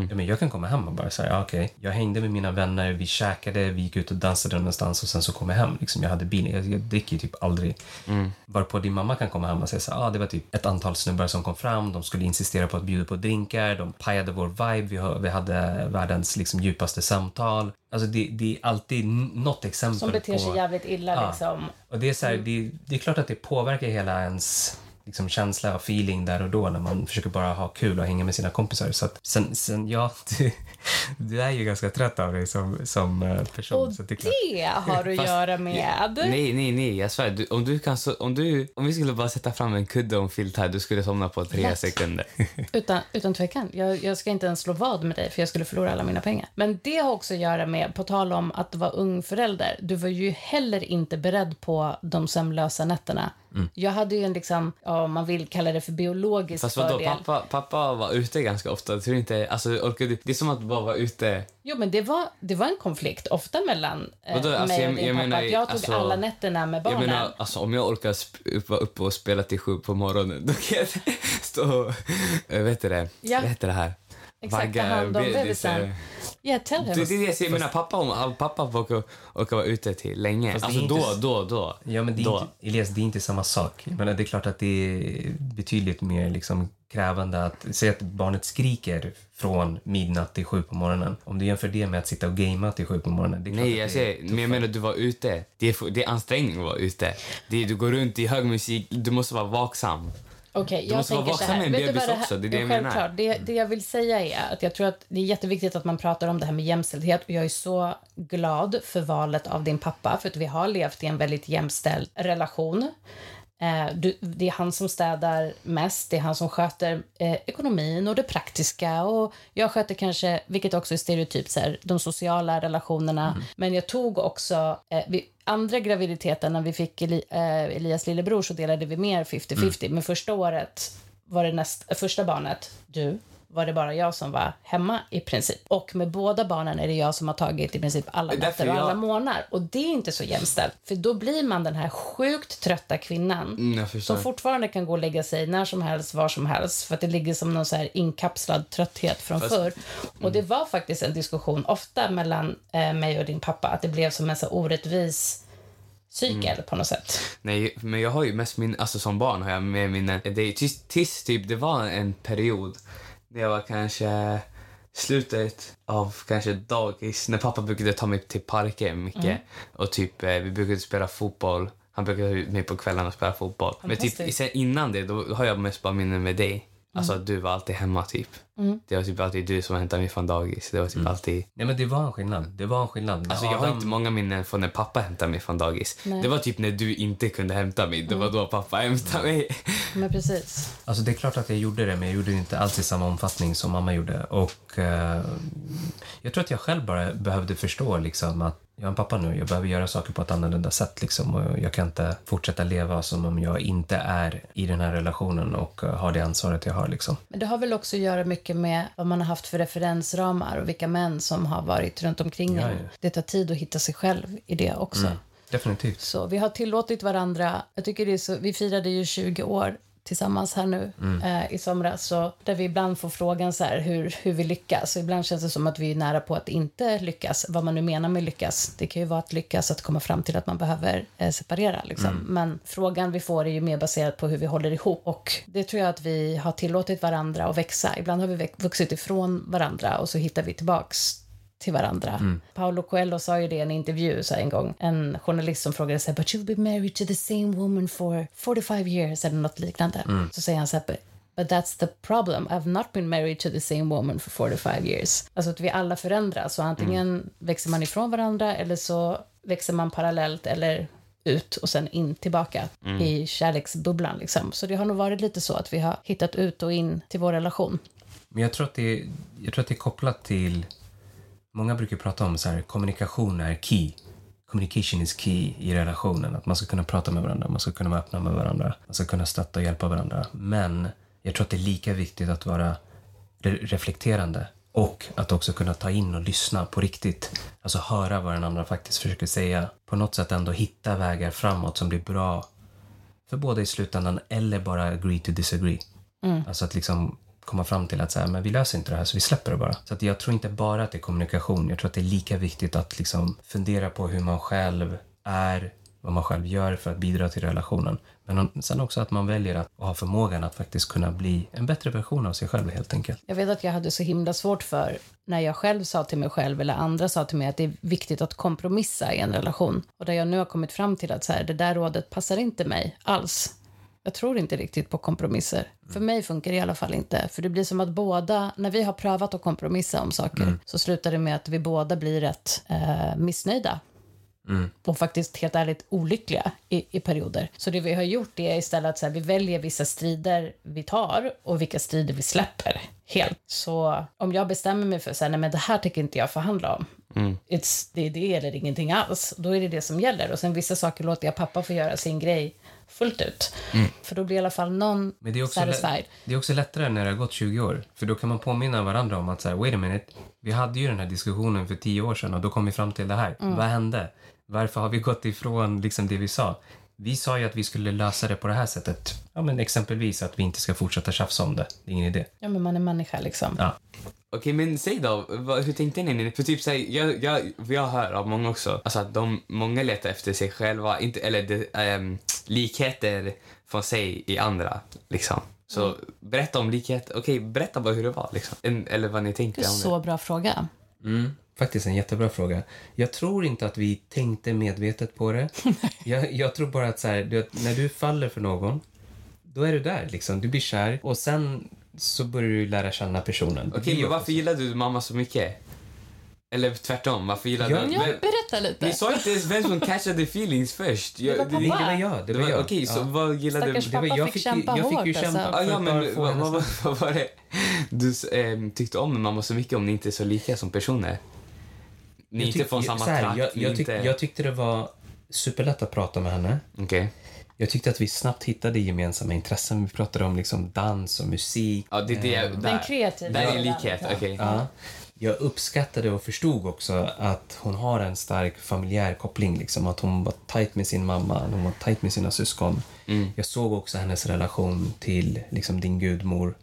[SPEAKER 3] Ja, men jag kan komma hem och bara säga, ja, okej, jag hängde med mina vänner, vi käkade, vi gick ut och dansade någonstans och sen så kom jag hem. Liksom, jag hade bilen, jag, jag dricker ju typ aldrig. Varpå din mamma kan komma hem och säga så här, ah, det var typ ett antal snubbar som kom fram, de skulle insistera på att bjuda på drinkar, de pajade vår vibe, vi, har- vi hade världens liksom, djupaste samtal. Alltså det, det är alltid n- något exempel
[SPEAKER 1] Som beter
[SPEAKER 3] på...
[SPEAKER 1] sig jävligt illa
[SPEAKER 3] Ja.
[SPEAKER 1] liksom.
[SPEAKER 3] Och det, är så här, det, det är klart att det påverkar hela ens liksom, känsla och feeling där och då när man försöker bara ha kul och hänga med sina kompisar. Så att, sen, sen, ja, du, du är ju ganska trött av dig som, som eh, person.
[SPEAKER 1] Och
[SPEAKER 3] så att det är klart.
[SPEAKER 1] det har att
[SPEAKER 2] Fast-
[SPEAKER 1] göra med...
[SPEAKER 2] Nej, nej, nej. Jag svär. Du, om, du kan, så, om, du, om vi skulle bara sätta fram en kudde och en filt här, du skulle somna på tre
[SPEAKER 1] Lätt.
[SPEAKER 2] sekunder.
[SPEAKER 1] Utan, utan tvekan. Jag, jag ska inte ens slå vad med dig för jag skulle förlora alla mina pengar. Men det har också att göra med, på tal om att vara ung förälder, du var ju heller inte beredd på de sömnlösa nätterna.
[SPEAKER 2] Mm.
[SPEAKER 1] Jag hade ju en, liksom, ja, om man vill kalla det för biologisk
[SPEAKER 2] Fast vadå,
[SPEAKER 1] fördel.
[SPEAKER 2] pappa, pappa var ute ganska ofta. Tror inte, alltså, orkar du, det är som att bara vara ute.
[SPEAKER 1] Jo, men det var, det var en konflikt, ofta mellan eh,
[SPEAKER 2] Vadå, alltså,
[SPEAKER 1] mig och
[SPEAKER 2] jag-
[SPEAKER 1] din
[SPEAKER 2] jag
[SPEAKER 1] pappa.
[SPEAKER 2] menar,
[SPEAKER 1] att jag tog
[SPEAKER 2] alltså,
[SPEAKER 1] alla nätterna med barnen.
[SPEAKER 2] Jag menar, alltså, om jag orkar sp- upp- vara uppe och spela till sju på morgonen, då kan jag stå och... eh, Vet du det?
[SPEAKER 1] Ja.
[SPEAKER 2] Vet du det här?
[SPEAKER 1] Exakt, ta hand om
[SPEAKER 2] be- det är så här-
[SPEAKER 1] bebisen. Yeah, tell him.
[SPEAKER 2] Det, det är det jag säger. Jag menar, pappa, om, all- pappa orkar, orkar vara ute till länge.
[SPEAKER 3] Fast det är
[SPEAKER 2] Alltså då,
[SPEAKER 3] inte-
[SPEAKER 2] då, då.
[SPEAKER 3] Ja, men det är
[SPEAKER 2] då.
[SPEAKER 3] inte, Elias, det är inte samma sak. Men det är klart att det är betydligt mer liksom krävande att säga att barnet skriker från midnatt till sju på morgonen. Om du jämför det med att sitta och gamea till sju på morgonen. Det är klart
[SPEAKER 2] Nej,
[SPEAKER 3] att
[SPEAKER 2] jag
[SPEAKER 3] det är
[SPEAKER 2] säger, men jag menar du var ute. Det är, f- det är ansträngning att vara ute. Det är, du går runt i hög musik, du måste vara vaksam.
[SPEAKER 1] Okej, jag
[SPEAKER 2] måste vara
[SPEAKER 1] tänker så
[SPEAKER 2] vaksam
[SPEAKER 1] här.
[SPEAKER 2] med en
[SPEAKER 1] Vet du
[SPEAKER 2] bebis
[SPEAKER 1] vad här-
[SPEAKER 2] också, det är det jag
[SPEAKER 1] självklart.
[SPEAKER 2] menar. Mm.
[SPEAKER 1] Det, det jag vill säga är att jag tror att det är jätteviktigt att man pratar om det här med jämställdhet och jag är så glad för valet av din pappa för att vi har levt i en väldigt jämställd relation. Eh, du, det är han som städar mest, det är han som sköter eh, ekonomin och det praktiska och jag sköter kanske, vilket också är stereotypt, så här, de sociala relationerna.
[SPEAKER 2] Mm.
[SPEAKER 1] Men jag tog också, eh, vid andra graviditeten när vi fick Eli, eh, Elias lillebror så delade vi mer 50-50,
[SPEAKER 2] Mm.
[SPEAKER 1] men första året var det näst, eh, första barnet, du, var det bara jag som var hemma i princip. Och med båda barnen är det jag som har tagit i princip alla
[SPEAKER 2] är därför
[SPEAKER 1] nätter och alla
[SPEAKER 2] jag-
[SPEAKER 1] månader. Och det är inte så jämställt. För då blir man den här sjukt trötta kvinnan
[SPEAKER 2] Mm, jag förstår.
[SPEAKER 1] som fortfarande kan gå och lägga sig när som helst, var som helst. För att det ligger som någon så här inkapslad trötthet från förr. Och det var faktiskt en diskussion ofta mellan eh, mig och din pappa. Att det blev som en så här orättvis cykel på något sätt.
[SPEAKER 2] Nej, men jag har ju mest min, alltså som barn har jag med minnen. Det är tis, tis typ, det var en period när jag var kanske slutet av kanske dagis när pappa brukade ta mig till parken mycket och typ eh, vi brukade spela fotboll. Han brukade ha ut mig på kvällarna och spela fotboll. Men typ
[SPEAKER 1] Fantastiskt.
[SPEAKER 2] sen innan det då har jag mest bara minnen med dig. Alltså att du var alltid hemma typ. Det var typ alltid du som hämtade mig från dagis. Det var typ alltid...
[SPEAKER 3] Nej, men det var en skillnad. Det var en skillnad.
[SPEAKER 2] Alltså, jag har inte många minnen från när pappa hämtade mig från dagis. Det var typ när du inte kunde hämta mig. Det var då
[SPEAKER 1] Mm.
[SPEAKER 2] pappa hämtade mig.
[SPEAKER 1] Men precis.
[SPEAKER 3] Alltså det är klart att jag gjorde det, men jag gjorde det inte alls i samma omfattning som mamma gjorde. Och eh, jag tror att jag själv bara behövde förstå liksom att jag har en pappa nu, jag behöver göra saker på ett annorlunda sätt liksom. Och jag kan inte fortsätta leva som om jag inte är i den här relationen och eh, har det ansvaret jag har liksom.
[SPEAKER 1] Men det har väl också att göra mycket med vad man har haft för referensramar och vilka män som har varit runt omkring en. Det tar tid att hitta sig själv i det också.
[SPEAKER 3] Mm. Definitivt.
[SPEAKER 1] Så vi har tillåtit varandra. Jag tycker det är så, vi firade ju 20 år tillsammans här nu eh, i somras. Så där vi ibland får frågan så här, hur, hur vi lyckas. Och ibland känns det som att vi är nära på att inte lyckas. Vad man nu menar med lyckas. Det kan ju vara att lyckas att komma fram till att man behöver eh, separera. Liksom. Men frågan vi får är ju mer baserad på hur vi håller ihop. Och det tror jag att vi har tillåtit varandra att växa. Ibland har vi väx- vuxit ifrån varandra och så hittar vi tillbaks till varandra. Paolo Coelho sa ju det i en intervju så här en gång. En journalist som frågade sig, but you've been married to the same woman for 45 years eller något liknande. Så säger han så här, "But- But that's the problem. I've not been married to the same woman for 45 years. Alltså att vi alla förändras. Så antingen växer man ifrån varandra eller så växer man parallellt eller ut och sen in tillbaka i kärleksbubblan. Liksom. Så det har nog varit lite så att vi har hittat ut och in till vår relation.
[SPEAKER 3] Men jag tror att det, jag tror att det är kopplat till... Många brukar prata om så här, kommunikation är key. Communication is key i relationen. Att man ska kunna prata med varandra, man ska kunna vara öppna med varandra. Man ska kunna stötta och hjälpa varandra. Men jag tror att det är lika viktigt att vara re- reflekterande och att också kunna ta in och lyssna på riktigt. Alltså höra vad den andra faktiskt försöker säga. På något sätt ändå hitta vägar framåt som blir bra för båda i slutändan eller bara agree to disagree.
[SPEAKER 1] Mm.
[SPEAKER 3] Alltså att liksom komma fram till att så här, men vi löser inte det här så vi släpper det bara. Så att jag tror inte bara att det är kommunikation. Jag tror att det är lika viktigt att liksom fundera på hur man själv är, vad man själv gör för att bidra till relationen. Men om- sen också att man väljer att och har förmågan att faktiskt kunna bli en bättre version av sig själv helt enkelt.
[SPEAKER 1] Jag vet att jag hade så himla svårt för när jag själv sa till mig själv eller andra sa till mig att det är viktigt att kompromissa i en relation. Och där jag nu har kommit fram till att så här, det där rådet passar inte mig alls. Jag tror inte riktigt på kompromisser. För mig funkar det i alla fall inte. För det blir som att båda, när vi har prövat att kompromissa om saker så slutar det med att vi båda blir rätt eh, missnöjda och faktiskt helt ärligt olyckliga i, i perioder. Så det vi har gjort är istället att så här, vi väljer vilka strider vi tar och vilka strider vi släpper helt. Så om jag bestämmer mig för att men det här tänker inte jag förhandla om, It's, det är det eller ingenting alls, då är det det som gäller. Och sen vissa saker låter jag pappa få göra sin grej fullt ut. För då blir i alla fall någon
[SPEAKER 3] Men det är, också
[SPEAKER 1] satisfied.
[SPEAKER 3] lätt, det är också lättare när det har gått 20 år. För då kan man påminna varandra om att så här, wait a minute, vi hade ju den här diskussionen för 10 år sedan och då kom vi fram till det här. Vad hände? Varför har vi gått ifrån liksom det vi sa? Vi sa ju att vi skulle lösa det på det här sättet. Ja, men exempelvis att vi inte ska fortsätta tjafsa om det. Det är ingen idé.
[SPEAKER 1] Ja, men man är människa liksom.
[SPEAKER 3] Ja.
[SPEAKER 2] Okej, men säg då, vad, hur tänkte ni? För typ så här, jag, jag, för jag hör av många också, alltså att de, många letar efter sig själva, inte, eller det, ehm, likheter från sig i andra, liksom. Så
[SPEAKER 1] Mm.
[SPEAKER 2] berätta om likhet, okej, berätta bara hur det var, liksom. En, eller vad ni tänkte
[SPEAKER 1] Det är
[SPEAKER 2] om
[SPEAKER 1] så bra fråga.
[SPEAKER 2] Mm.
[SPEAKER 3] Faktiskt en jättebra fråga. Jag tror inte att vi tänkte medvetet på det. jag, jag tror bara att så här, du, vet, när du faller för någon, då är du där. Liksom. Du blir kär och sen så börjar du lära känna personen.
[SPEAKER 2] det. Okej, men varför gillade du mamma så mycket? Eller tvärtom, varför gillade
[SPEAKER 3] Ja,
[SPEAKER 2] du...
[SPEAKER 1] Ja,
[SPEAKER 2] Men-
[SPEAKER 1] berätta lite.
[SPEAKER 2] Ni sa inte ens vem som catchade feelings först. Jag,
[SPEAKER 1] var
[SPEAKER 2] det-
[SPEAKER 1] pappa.
[SPEAKER 3] Det var jag.
[SPEAKER 2] det
[SPEAKER 3] Det var
[SPEAKER 2] var-
[SPEAKER 3] jag.
[SPEAKER 2] Okej, så
[SPEAKER 3] Ja.
[SPEAKER 2] vad gillade...
[SPEAKER 1] Stackars
[SPEAKER 3] Det var-
[SPEAKER 1] Pappa
[SPEAKER 3] jag
[SPEAKER 1] fick
[SPEAKER 3] fick ju-
[SPEAKER 1] kämpa
[SPEAKER 3] jag fick ju
[SPEAKER 1] hårt, alltså.
[SPEAKER 3] kämpa
[SPEAKER 2] Ah, ja,
[SPEAKER 3] för bara
[SPEAKER 2] men
[SPEAKER 3] få
[SPEAKER 2] vad,
[SPEAKER 3] henne
[SPEAKER 2] vad, vad, vad var det du ehm, tyckte om med mamma så mycket om ni inte är så lika som personer? Ni är
[SPEAKER 3] Jag
[SPEAKER 2] inte
[SPEAKER 3] tyck-
[SPEAKER 2] från
[SPEAKER 3] jag-
[SPEAKER 2] samma
[SPEAKER 3] så här,
[SPEAKER 2] trakt.
[SPEAKER 3] Jag,
[SPEAKER 2] ni
[SPEAKER 3] jag, tyck,
[SPEAKER 2] inte...
[SPEAKER 3] jag tyckte det var superlätt att prata med henne.
[SPEAKER 2] Okej.
[SPEAKER 3] Jag tyckte att vi snabbt hittade gemensamma intressen. Vi pratade om liksom dans och musik.
[SPEAKER 2] Ja, det, det, är- där.
[SPEAKER 1] kreativa
[SPEAKER 2] Där är
[SPEAKER 1] delen,
[SPEAKER 2] likhet,
[SPEAKER 1] ja.
[SPEAKER 2] okej.
[SPEAKER 3] Eh. Ja. Jag uppskattade och förstod också att hon har en stark familjär koppling. Liksom. Att hon var tajt med sin mamma, hon var tajt med sina syskon.
[SPEAKER 2] Mm.
[SPEAKER 3] Jag såg också hennes relation till liksom, din gudmor.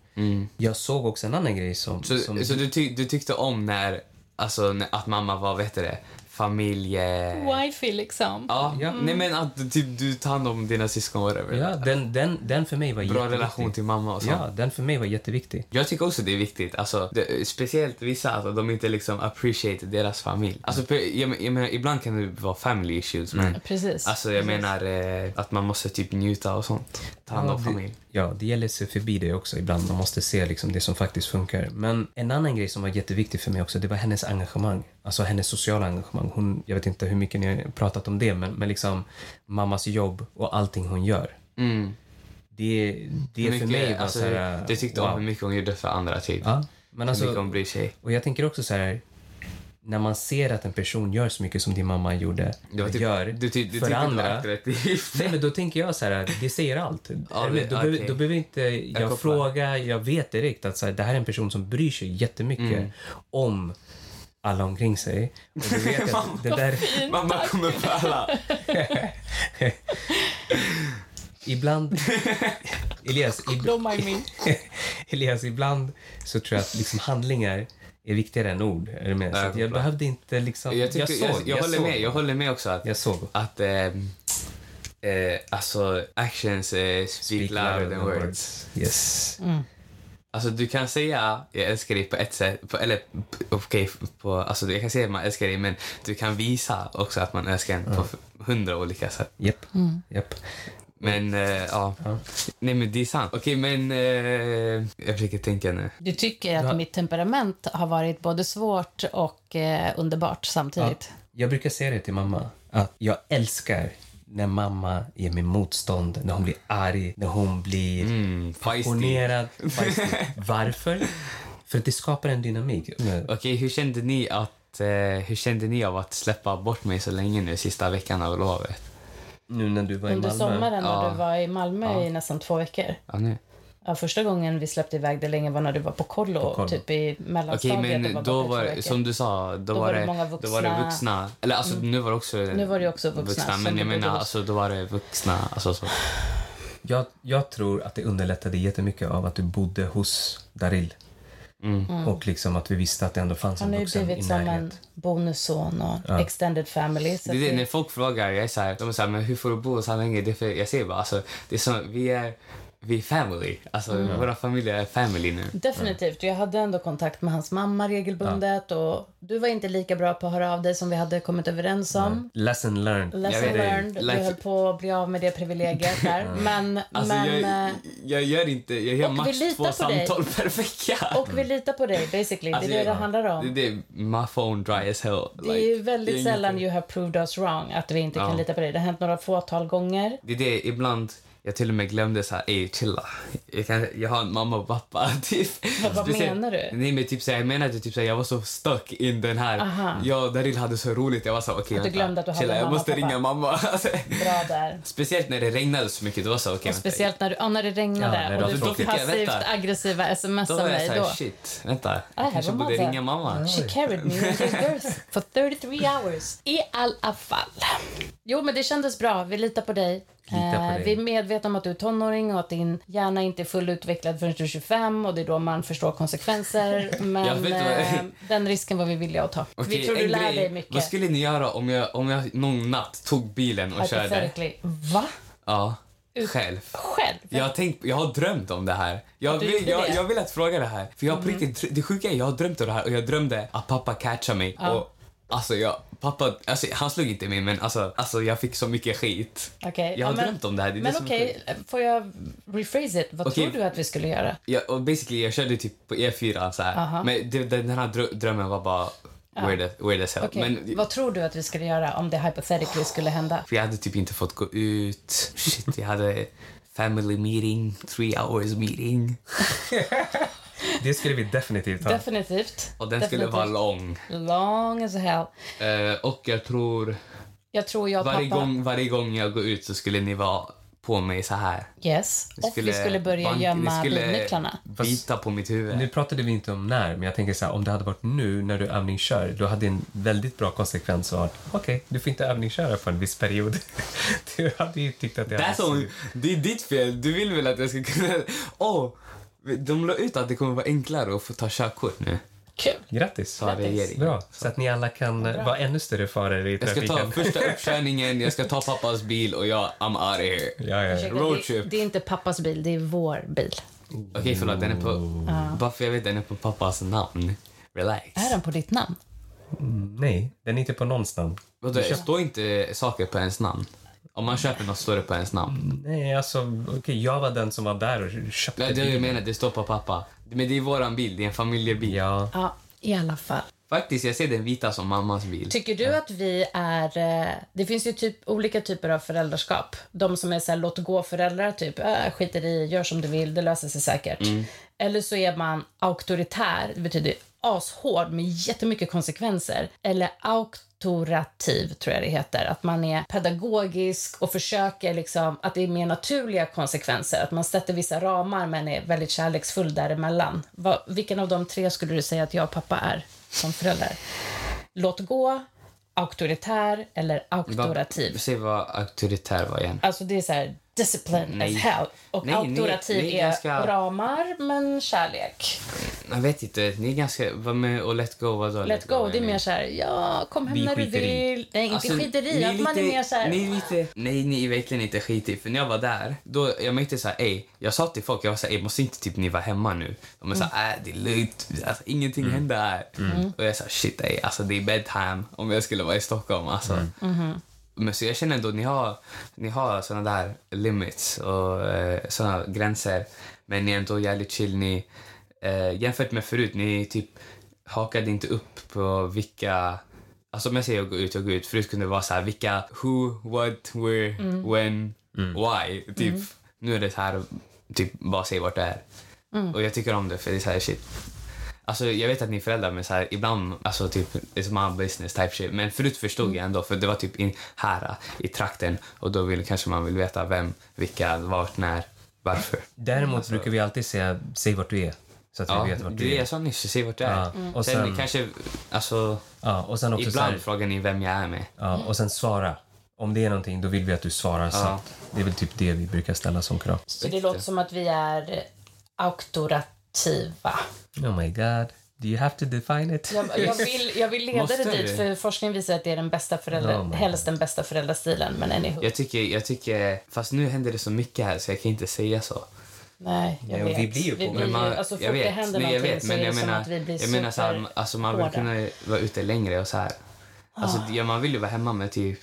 [SPEAKER 3] Jag såg också en annan grej som...
[SPEAKER 2] Mm. Så,
[SPEAKER 3] som
[SPEAKER 2] så du, tyck, du tyckte om när, alltså, när, att mamma var, vet du det, familje...
[SPEAKER 5] Wifey liksom.
[SPEAKER 2] Ja, nej men att typ, du tar hand om dina syskon whatever.
[SPEAKER 3] Ja, den, den, den för mig var
[SPEAKER 2] Bra relation till mamma och sånt.
[SPEAKER 3] Ja, den för mig var jätteviktig.
[SPEAKER 2] Jag tycker också det är viktigt, alltså, det, speciellt vissa, att de inte liksom appreciate deras familj. Alltså, för- jag, jag menar, ibland kan det vara family issues, men
[SPEAKER 1] Precis.
[SPEAKER 2] alltså, jag menar eh, att man måste typ njuta och sånt. Ta hand om
[SPEAKER 3] Ja,
[SPEAKER 2] familj.
[SPEAKER 3] Det, ja, det gäller att se förbi det också ibland. Man måste se liksom det som faktiskt funkar. Men en annan grej som var jätteviktig för mig också, det var hennes engagemang. Alltså hennes sociala engagemang. Hon, jag vet inte hur mycket ni har pratat om det, men, men liksom mammas jobb och allting hon gör.
[SPEAKER 2] Mm.
[SPEAKER 3] Det, det
[SPEAKER 2] Hur
[SPEAKER 3] för
[SPEAKER 2] mycket-
[SPEAKER 3] mig var
[SPEAKER 2] alltså,
[SPEAKER 3] så här...
[SPEAKER 2] Det tyckte om
[SPEAKER 3] wow.
[SPEAKER 2] hur mycket hon gjorde för andra, typ.
[SPEAKER 3] Ja, men
[SPEAKER 2] hur mycket
[SPEAKER 3] alltså,
[SPEAKER 2] hon bryr sig.
[SPEAKER 3] och jag tänker också så här... När man ser att en person gör så mycket som din mamma gjorde,
[SPEAKER 2] Det var typ-
[SPEAKER 3] gör
[SPEAKER 2] du, ty- du
[SPEAKER 3] för
[SPEAKER 2] tyckte det var
[SPEAKER 3] andra.
[SPEAKER 2] attraktivt.
[SPEAKER 3] Nej, men då tänker jag så här, det säger allt.
[SPEAKER 2] Ja,
[SPEAKER 3] Eller,
[SPEAKER 2] det-
[SPEAKER 3] då, behöver-
[SPEAKER 2] okej.
[SPEAKER 3] då behöver inte jag,
[SPEAKER 2] kopplar.
[SPEAKER 3] fråga, jag vet direkt att så här, det här är en person som bryr sig jättemycket
[SPEAKER 2] Mm.
[SPEAKER 3] om alla omkring sig. Och du vet att det där,
[SPEAKER 2] Mamma kommer pöla.
[SPEAKER 3] ibland... Elias, ib,
[SPEAKER 5] Don't mind me.
[SPEAKER 3] Elias, ibland så tror jag att liksom handlingar är viktigare än ord. Är du med? Så
[SPEAKER 2] Ja, jag
[SPEAKER 3] att jag
[SPEAKER 2] kopplar.
[SPEAKER 3] behövde inte liksom...
[SPEAKER 2] Jag, tycker, jag, jag, håller
[SPEAKER 3] såg.
[SPEAKER 2] med. Jag håller med också att
[SPEAKER 3] Jag såg.
[SPEAKER 2] att eh, eh, alltså actions eh, speak, louder than words.
[SPEAKER 3] Yes.
[SPEAKER 2] Alltså du kan säga jag älskar dig på ett sätt, på, eller p- okej, på, alltså jag kan säga att man älskar dig men du kan visa också att man älskar en på f- hundra olika sätt.
[SPEAKER 3] Japp. Japp.
[SPEAKER 2] Men eh, ja. nej men det är sant. Okej men eh, jag försöker tänka nu.
[SPEAKER 1] Du tycker att mitt temperament har varit både svårt och eh, underbart samtidigt.
[SPEAKER 3] Jag brukar säga det till mamma, att jag älskar när mamma ger mig motstånd, när hon blir arg, när hon blir
[SPEAKER 2] Mm, feisty.
[SPEAKER 3] passionerad. feisty. Varför? För att det skapar en dynamik.
[SPEAKER 2] Okej hur kände ni att eh, hur kände ni av att släppa bort mig så länge nu sista veckan av lovet?
[SPEAKER 3] Nu när du var i
[SPEAKER 1] Under
[SPEAKER 3] Malmö.
[SPEAKER 1] sommaren när
[SPEAKER 2] Ja.
[SPEAKER 1] du var i Malmö i nästan två veckor.
[SPEAKER 2] Ja, nu.
[SPEAKER 1] Ja, första gången vi släppte iväg det länge var när du var på kollo,
[SPEAKER 3] kollo.
[SPEAKER 1] typ i mellanstadiet.
[SPEAKER 2] Okej,
[SPEAKER 1] och
[SPEAKER 2] men
[SPEAKER 1] var
[SPEAKER 2] då
[SPEAKER 1] borta i två
[SPEAKER 2] var det,
[SPEAKER 1] veckor.
[SPEAKER 2] som du sa, då,
[SPEAKER 1] Då
[SPEAKER 2] var,
[SPEAKER 1] var det
[SPEAKER 2] det,
[SPEAKER 1] många
[SPEAKER 2] då var
[SPEAKER 1] vuxna.
[SPEAKER 2] det
[SPEAKER 1] Mm.
[SPEAKER 2] vuxna. Eller alltså, nu var det också
[SPEAKER 1] Nu var det ju också vuxna som
[SPEAKER 2] men jag
[SPEAKER 1] bodde
[SPEAKER 2] menar,
[SPEAKER 1] hos-
[SPEAKER 2] alltså, då var det vuxna. Alltså, så.
[SPEAKER 3] Jag, jag tror att det underlättade jättemycket av att du bodde hos Daril. Och liksom att vi visste att det ändå fanns
[SPEAKER 1] Mm. Han
[SPEAKER 3] en
[SPEAKER 1] har ju
[SPEAKER 3] vuxen i
[SPEAKER 1] blivit som en
[SPEAKER 3] närhet.
[SPEAKER 1] bonusson och extended family. Så
[SPEAKER 2] Det är det,
[SPEAKER 1] att
[SPEAKER 2] när folk frågar, jag är så här, de är så här, men hur får du bo så här länge? Det är för, jag säger bara, alltså, det är som, vi är, vi är family. Alltså,
[SPEAKER 1] Mm.
[SPEAKER 2] våra familjer är family nu.
[SPEAKER 1] Definitivt. Jag hade ändå kontakt med hans mamma regelbundet. Och du var inte lika bra på att höra av dig som vi hade kommit överens om.
[SPEAKER 3] Lesson learned.
[SPEAKER 2] Jag
[SPEAKER 1] Lesson
[SPEAKER 2] vet.
[SPEAKER 1] learned. Du
[SPEAKER 2] Like-
[SPEAKER 1] höll på att bli av med det privilegiet där. Men,
[SPEAKER 2] Alltså,
[SPEAKER 1] men,
[SPEAKER 2] jag,
[SPEAKER 1] eh,
[SPEAKER 2] jag gör inte, jag gör
[SPEAKER 1] och vi
[SPEAKER 2] max
[SPEAKER 1] litar
[SPEAKER 2] två
[SPEAKER 1] på
[SPEAKER 2] samtal per vecka.
[SPEAKER 1] Och vi litar på dig basically.
[SPEAKER 2] Alltså,
[SPEAKER 1] det är det
[SPEAKER 2] jag-
[SPEAKER 1] det handlar om.
[SPEAKER 2] Det, det är my phone dry as hell.
[SPEAKER 1] Det är ju väldigt sällan you have proved us wrong, att vi inte
[SPEAKER 2] Ja.
[SPEAKER 1] kan lita på dig. Det har hänt några fåtal gånger.
[SPEAKER 2] Det är det, ibland jag till och med glömde så här, ey chilla. Jag, kan, jag har en mamma och pappa. Typ.
[SPEAKER 1] Vad- vad
[SPEAKER 2] Speciellt-
[SPEAKER 1] menar du?
[SPEAKER 2] Nej men typ så här, jag menade typ så här, jag var så stuck in den här.
[SPEAKER 1] Aha.
[SPEAKER 2] Jag och Daryl hade så roligt. Jag var så här, okej
[SPEAKER 1] Att du
[SPEAKER 2] vänta,
[SPEAKER 1] glömde att du hade
[SPEAKER 2] chilla, jag
[SPEAKER 1] mamma och
[SPEAKER 2] måste
[SPEAKER 1] pappa.
[SPEAKER 2] ringa mamma. Alltså,
[SPEAKER 1] Bra där.
[SPEAKER 2] speciellt när det regnade så mycket. Det var så här, okej
[SPEAKER 1] Och
[SPEAKER 2] vänta.
[SPEAKER 1] speciellt när, du, ja, när det regnade
[SPEAKER 3] Ja, när det var
[SPEAKER 1] och du
[SPEAKER 2] tråkigt.
[SPEAKER 1] fick
[SPEAKER 2] Då fick jag
[SPEAKER 1] passivt
[SPEAKER 2] vänta.
[SPEAKER 1] aggressiva sms
[SPEAKER 2] Då
[SPEAKER 1] av
[SPEAKER 2] var jag
[SPEAKER 1] mig.
[SPEAKER 2] så här,
[SPEAKER 1] Då. Äh,
[SPEAKER 2] shit, vänta. Jag
[SPEAKER 1] här
[SPEAKER 2] kanske
[SPEAKER 1] var
[SPEAKER 2] borde
[SPEAKER 1] Mazza.
[SPEAKER 2] ringa mamma.
[SPEAKER 1] She carried me in her girth for 33 hours. I alla fall. Jo, men det kändes bra. Vi litar på dig. Eh,
[SPEAKER 3] Litar på dig.
[SPEAKER 1] Vi är medvetna om att du är tonåring och att din hjärna inte är fullutvecklad förrän du är 25 och det är då man förstår konsekvenser.
[SPEAKER 2] Jag
[SPEAKER 1] Men
[SPEAKER 2] vet vad-
[SPEAKER 1] eh, den risken var vi villiga att ta.
[SPEAKER 2] Okej,
[SPEAKER 1] vi tror du
[SPEAKER 2] en
[SPEAKER 1] lär
[SPEAKER 2] grej.
[SPEAKER 1] dig
[SPEAKER 2] Vad
[SPEAKER 1] mycket.
[SPEAKER 2] skulle ni göra om jag, om jag någon natt tog bilen och körde?
[SPEAKER 1] Hypothetically. Va?
[SPEAKER 2] Ja, själv.
[SPEAKER 1] Själv?
[SPEAKER 2] Jag har, tänkt, jag har drömt om det här. Jag
[SPEAKER 1] Du
[SPEAKER 2] vill,
[SPEAKER 1] gjorde
[SPEAKER 2] jag,
[SPEAKER 1] det? Mm.
[SPEAKER 2] jag vill att fråga det här. För jag har på riktigt, det sjuka är jag har drömt om det här och jag drömde att pappa catchade mig. Och, alltså, jag, pappa, alltså, han slog inte mig, men alltså, alltså, jag fick så mycket skit.
[SPEAKER 1] Okej,
[SPEAKER 2] Jag har
[SPEAKER 1] ja, men-
[SPEAKER 2] drömt om det här. Det är det
[SPEAKER 1] Men
[SPEAKER 2] som är
[SPEAKER 1] okej, eh,
[SPEAKER 2] sjukt.
[SPEAKER 1] får jag rephrase it? Vad
[SPEAKER 2] Okej.
[SPEAKER 1] tror du att vi skulle göra?
[SPEAKER 2] jag, och basically, jag körde typ på E4. Så här.
[SPEAKER 1] Aha.
[SPEAKER 2] Men det, den här drö- drömmen var bara weird, as- weird as hell.
[SPEAKER 1] Okej,
[SPEAKER 2] Men,
[SPEAKER 1] Vad tror du att vi skulle göra om det hypothetically skulle hända?
[SPEAKER 2] för jag hade typ inte fått gå ut. Shit, jag hade family meeting, three hours meeting.
[SPEAKER 3] Det skulle vi definitivt ha.
[SPEAKER 1] Definitivt.
[SPEAKER 2] Och den skulle
[SPEAKER 1] Definitivt.
[SPEAKER 2] vara lång.
[SPEAKER 1] Long as hell.
[SPEAKER 2] Eh, och jag tror...
[SPEAKER 1] Jag tror jag och
[SPEAKER 2] Varje
[SPEAKER 1] pappa...
[SPEAKER 2] gång, varje gång jag går ut så skulle ni vara på mig så här.
[SPEAKER 1] Yes.
[SPEAKER 2] Ni
[SPEAKER 1] Och vi skulle börja
[SPEAKER 2] bank- ni
[SPEAKER 1] gömma
[SPEAKER 2] skulle
[SPEAKER 1] bilnycklarna.
[SPEAKER 2] bita på mitt huvud.
[SPEAKER 3] Nu pratade vi inte om när, men jag tänker så här, om det hade varit nu när du övningskör, då hade en väldigt bra konsekvens varit okej, du får inte övningsköra för en viss period. du hade ju tyckt att det
[SPEAKER 2] That's
[SPEAKER 3] hade-
[SPEAKER 2] on, det är ditt fel. Du vill väl att jag ska kunna... Åh! de la ut att det kommer vara enklare att få ta körkort nu.
[SPEAKER 1] Kul.
[SPEAKER 3] Grattis!
[SPEAKER 2] Ta regering.
[SPEAKER 3] Bra, så att ni alla kan eh, vara ännu större faror i
[SPEAKER 2] Jag ska
[SPEAKER 3] trafiken.
[SPEAKER 2] ta första uppkörningen, jag ska ta pappas bil och jag, I'm out of here. Okej,
[SPEAKER 3] Ja, ja, ja.
[SPEAKER 1] Ursäkta,
[SPEAKER 2] Roadtrip.
[SPEAKER 1] Det, det är inte pappas bil, det är vår bil.
[SPEAKER 2] förlåt. Den är på... Bara för jag vet den är på pappas namn. Relax.
[SPEAKER 1] Är den på ditt namn?
[SPEAKER 3] Nej, den är inte på någons namn.
[SPEAKER 2] Vadå, står inte saker på ens namn? Om man köper något står det på ens namn.
[SPEAKER 3] Nej, alltså, okej, jag var den som var där och köpte
[SPEAKER 2] Det är det jag
[SPEAKER 3] bilen.
[SPEAKER 2] menar, det står på pappa. Men det är våran bil, det är en familjebil.
[SPEAKER 3] Ja,
[SPEAKER 1] Ja, i alla fall.
[SPEAKER 2] Faktiskt, jag ser den vita som mammas bil.
[SPEAKER 1] Tycker du att vi är... eh, Det finns ju typ olika typer av föräldraskap. De som är så här, låt gå-föräldrar, typ äh, skiter i, gör som du vill, det löser sig säkert. Eller så är man auktoritär, det betyder ashård med jättemycket konsekvenser. Eller auktorativ, tror jag det heter. Att man är pedagogisk och försöker liksom, att det är mer naturliga konsekvenser. Att man sätter vissa ramar men är väldigt kärleksfull däremellan. Vad, vilken av de tre skulle du säga att jag och pappa är som föräldrar? låt gå, auktoritär eller auktorativ.
[SPEAKER 2] Vad- Säg vad auktoritär var igen.
[SPEAKER 1] Alltså det är så här discipline
[SPEAKER 2] Nej.
[SPEAKER 1] as hell. Och
[SPEAKER 2] Nej, ni-
[SPEAKER 1] auktorativ
[SPEAKER 2] ni är
[SPEAKER 1] är
[SPEAKER 2] ganska-
[SPEAKER 1] ramar men kärlek.
[SPEAKER 2] Jag vet inte, ni är ganska... Vad med och let go, vadå?
[SPEAKER 1] Let go, det är mer så här, ja kom hem
[SPEAKER 3] Vi
[SPEAKER 1] när du
[SPEAKER 3] skiter i.
[SPEAKER 1] vill. Nej, inte skiteri, att man är mer så här.
[SPEAKER 2] Ni är Alltså, lite, nej, ni är verkligen inte skitig. För när jag var där, då, jag märkte så här, ey, jag sa till folk, jag var så här, ey, måste inte typ ni vara hemma nu? De är så här, äh, det är lugnt, alltså, ingenting händer här. Och jag sa, shit ey, alltså det är bedtime om jag skulle vara i Stockholm alltså. Men så jag känner ändå, ni har, ni har såna där limits och eh, såna gränser. Men ni är ändå jävligt chill. Ni, eh, jämfört med förut, ni typ hakade inte upp på vilka... Alltså om jag säger att gå ut, jag går ut. Förut kunde det vara så här, vilka, who, what, where, when, why. Typ. Nu är det så här, typ bara säg vart det är. Och jag tycker om det för det är så här shit. Alltså jag vet att ni är föräldrar men så här, ibland, alltså typ it's my business type shit. Men förut förstod jag ändå för det var typ in, här i trakten och då vill, kanske man vill veta vem, vilka, vart, när, varför.
[SPEAKER 3] däremot brukar vi alltid säga säg vart du är. Så att
[SPEAKER 2] Alltså- Ja,
[SPEAKER 3] vi vet vart du
[SPEAKER 2] det
[SPEAKER 3] är.
[SPEAKER 2] är så nyss, säg vart du är. Mm.
[SPEAKER 3] Ja, och
[SPEAKER 2] sen,
[SPEAKER 3] sen-
[SPEAKER 2] kanske, alltså
[SPEAKER 3] Ja, och sen också så
[SPEAKER 2] ibland
[SPEAKER 3] här,
[SPEAKER 2] frågar ni vem jag är med.
[SPEAKER 3] ja, och sen svara. Om det är någonting, då vill vi att du svarar sant. Det är väl typ det vi brukar ställa som krav.
[SPEAKER 1] Så det låter som att vi är auktorativa.
[SPEAKER 3] Oh my god, do you have to define it?
[SPEAKER 1] Jag, jag, vill, jag vill leda
[SPEAKER 2] Måste
[SPEAKER 1] det dit
[SPEAKER 2] vi? Oh
[SPEAKER 1] för forskningen visar att det är den bästa föräldra,
[SPEAKER 3] Ja, men-
[SPEAKER 1] helst den bästa föräldrastilen. Men anywho,
[SPEAKER 2] Jag tycker, jag tycker, fast nu händer det så mycket här så jag kan inte säga så.
[SPEAKER 1] nej jag
[SPEAKER 3] Nej, och
[SPEAKER 1] vet.
[SPEAKER 3] vi blir ju på-
[SPEAKER 2] Men man,
[SPEAKER 1] alltså, fort
[SPEAKER 2] jag
[SPEAKER 1] det
[SPEAKER 2] vet,
[SPEAKER 1] händer
[SPEAKER 2] nej, jag
[SPEAKER 1] någonting
[SPEAKER 2] vet
[SPEAKER 1] så
[SPEAKER 2] men
[SPEAKER 1] är det
[SPEAKER 2] jag
[SPEAKER 1] som
[SPEAKER 2] menar,
[SPEAKER 1] att vi blir
[SPEAKER 2] jag menar så här,
[SPEAKER 1] super-
[SPEAKER 2] alltså man vill
[SPEAKER 1] hårda.
[SPEAKER 2] kunna vara ute längre och så här. Alltså,
[SPEAKER 1] Ah.
[SPEAKER 2] ja, man vill ju vara hemma med typ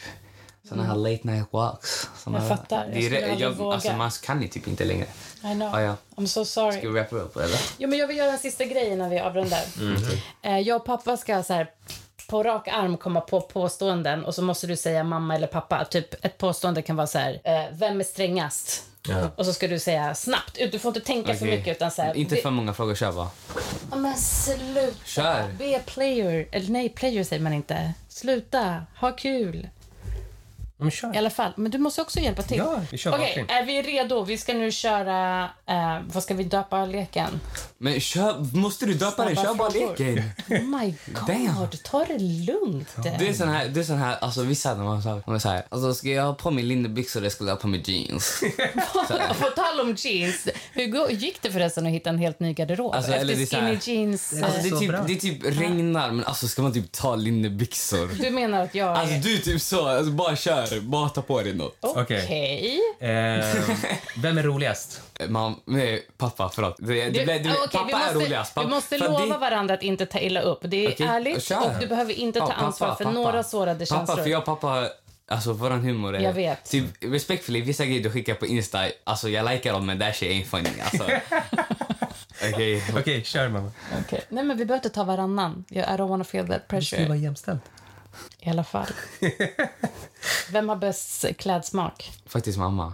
[SPEAKER 2] såna här late night walks. Såna
[SPEAKER 1] Mm. Jag fattar, jag
[SPEAKER 2] det är
[SPEAKER 1] skulle
[SPEAKER 2] re-
[SPEAKER 1] aldrig våga.
[SPEAKER 2] Alltså, man kan ju typ inte längre.
[SPEAKER 1] I know.
[SPEAKER 2] Ah, ja.
[SPEAKER 1] I'm so sorry.
[SPEAKER 2] Ska vi wrappa upp eller?
[SPEAKER 1] Jo, men jag vill göra en sista grej innan vi avrundar.
[SPEAKER 2] Mm,
[SPEAKER 1] Eh, Jag och pappa ska så här på rak arm komma på påståenden och så måste du säga mamma eller pappa. Typ ett påstående kan vara så här, eh, vem är strängast?
[SPEAKER 3] Ja.
[SPEAKER 1] Och så ska du säga snabbt. Du får inte tänka för
[SPEAKER 2] Okej.
[SPEAKER 1] mycket utan så här,
[SPEAKER 2] Inte
[SPEAKER 1] det-
[SPEAKER 2] för många frågor, kör bara.
[SPEAKER 1] Ja, men sluta.
[SPEAKER 2] Kör.
[SPEAKER 1] Be player. Eller nej, player säger man inte. Sluta. Ha kul.
[SPEAKER 3] Men kör.
[SPEAKER 1] I alla fall. Men du måste också hjälpa till.
[SPEAKER 3] Ja, vi kör
[SPEAKER 1] Okej,
[SPEAKER 3] verkligen.
[SPEAKER 1] är vi redo? Vi ska nu köra... Eh, vad ska vi döpa leken?
[SPEAKER 2] Men kör, måste du döpa den?
[SPEAKER 1] Snabba
[SPEAKER 2] Kör bara
[SPEAKER 1] frågor.
[SPEAKER 2] leken.
[SPEAKER 1] Oh my god,
[SPEAKER 2] Damn.
[SPEAKER 1] ta det lugnt.
[SPEAKER 2] Det är sån här, det är sån här alltså vissa när man sa, man är så här, alltså ska jag ha på mig linnebyxor eller ska jag ha på mig jeans?
[SPEAKER 1] Och På tal om jeans, hur gå- gick det förresten att hitta en helt ny garderob?
[SPEAKER 2] Alltså,
[SPEAKER 1] Efter
[SPEAKER 2] eller det är så här-
[SPEAKER 1] skinny jeans.
[SPEAKER 2] Alltså det,
[SPEAKER 3] Så
[SPEAKER 2] är typ,
[SPEAKER 3] bra.
[SPEAKER 2] det är typ regnar men alltså ska man typ ta linnebyxor?
[SPEAKER 1] Du menar att jag är...
[SPEAKER 2] Alltså du är typ så, alltså, bara kör, bara ta på dig något.
[SPEAKER 1] Okej. eh.
[SPEAKER 3] Ehm, vem är roligast?
[SPEAKER 2] Man, nej, pappa förlåt. Det, det,
[SPEAKER 1] Du-
[SPEAKER 2] blev- det,
[SPEAKER 1] ah, okej,
[SPEAKER 2] pappa
[SPEAKER 1] vi måste,
[SPEAKER 2] är roligast. Pappa,
[SPEAKER 1] vi måste
[SPEAKER 2] för
[SPEAKER 1] lova
[SPEAKER 2] det-
[SPEAKER 1] varandra att inte ta illa upp. Det är
[SPEAKER 2] Okej,
[SPEAKER 1] ärligt
[SPEAKER 2] kör.
[SPEAKER 1] och du behöver inte
[SPEAKER 2] Ja,
[SPEAKER 1] ta
[SPEAKER 2] pappa,
[SPEAKER 1] ansvar för
[SPEAKER 2] pappa.
[SPEAKER 1] några sårade
[SPEAKER 2] Pappa,
[SPEAKER 1] känslor.
[SPEAKER 2] för jag och pappa, alltså våran humor är...
[SPEAKER 1] Jag vet.
[SPEAKER 2] Typ respektfullt, vissa grejer du skickar på Insta, alltså jag likar dem men that shit ain't funny alltså. Okej.
[SPEAKER 3] Okej, kör mamma.
[SPEAKER 1] Okej. Nej, men vi behöver inte ta varannan. Jag- I don't wanna feel that
[SPEAKER 3] Vi ska ju
[SPEAKER 1] pressure.
[SPEAKER 3] vara jämställd.
[SPEAKER 1] I alla fall. Vem har bäst klädsmak?
[SPEAKER 2] Faktiskt mamma.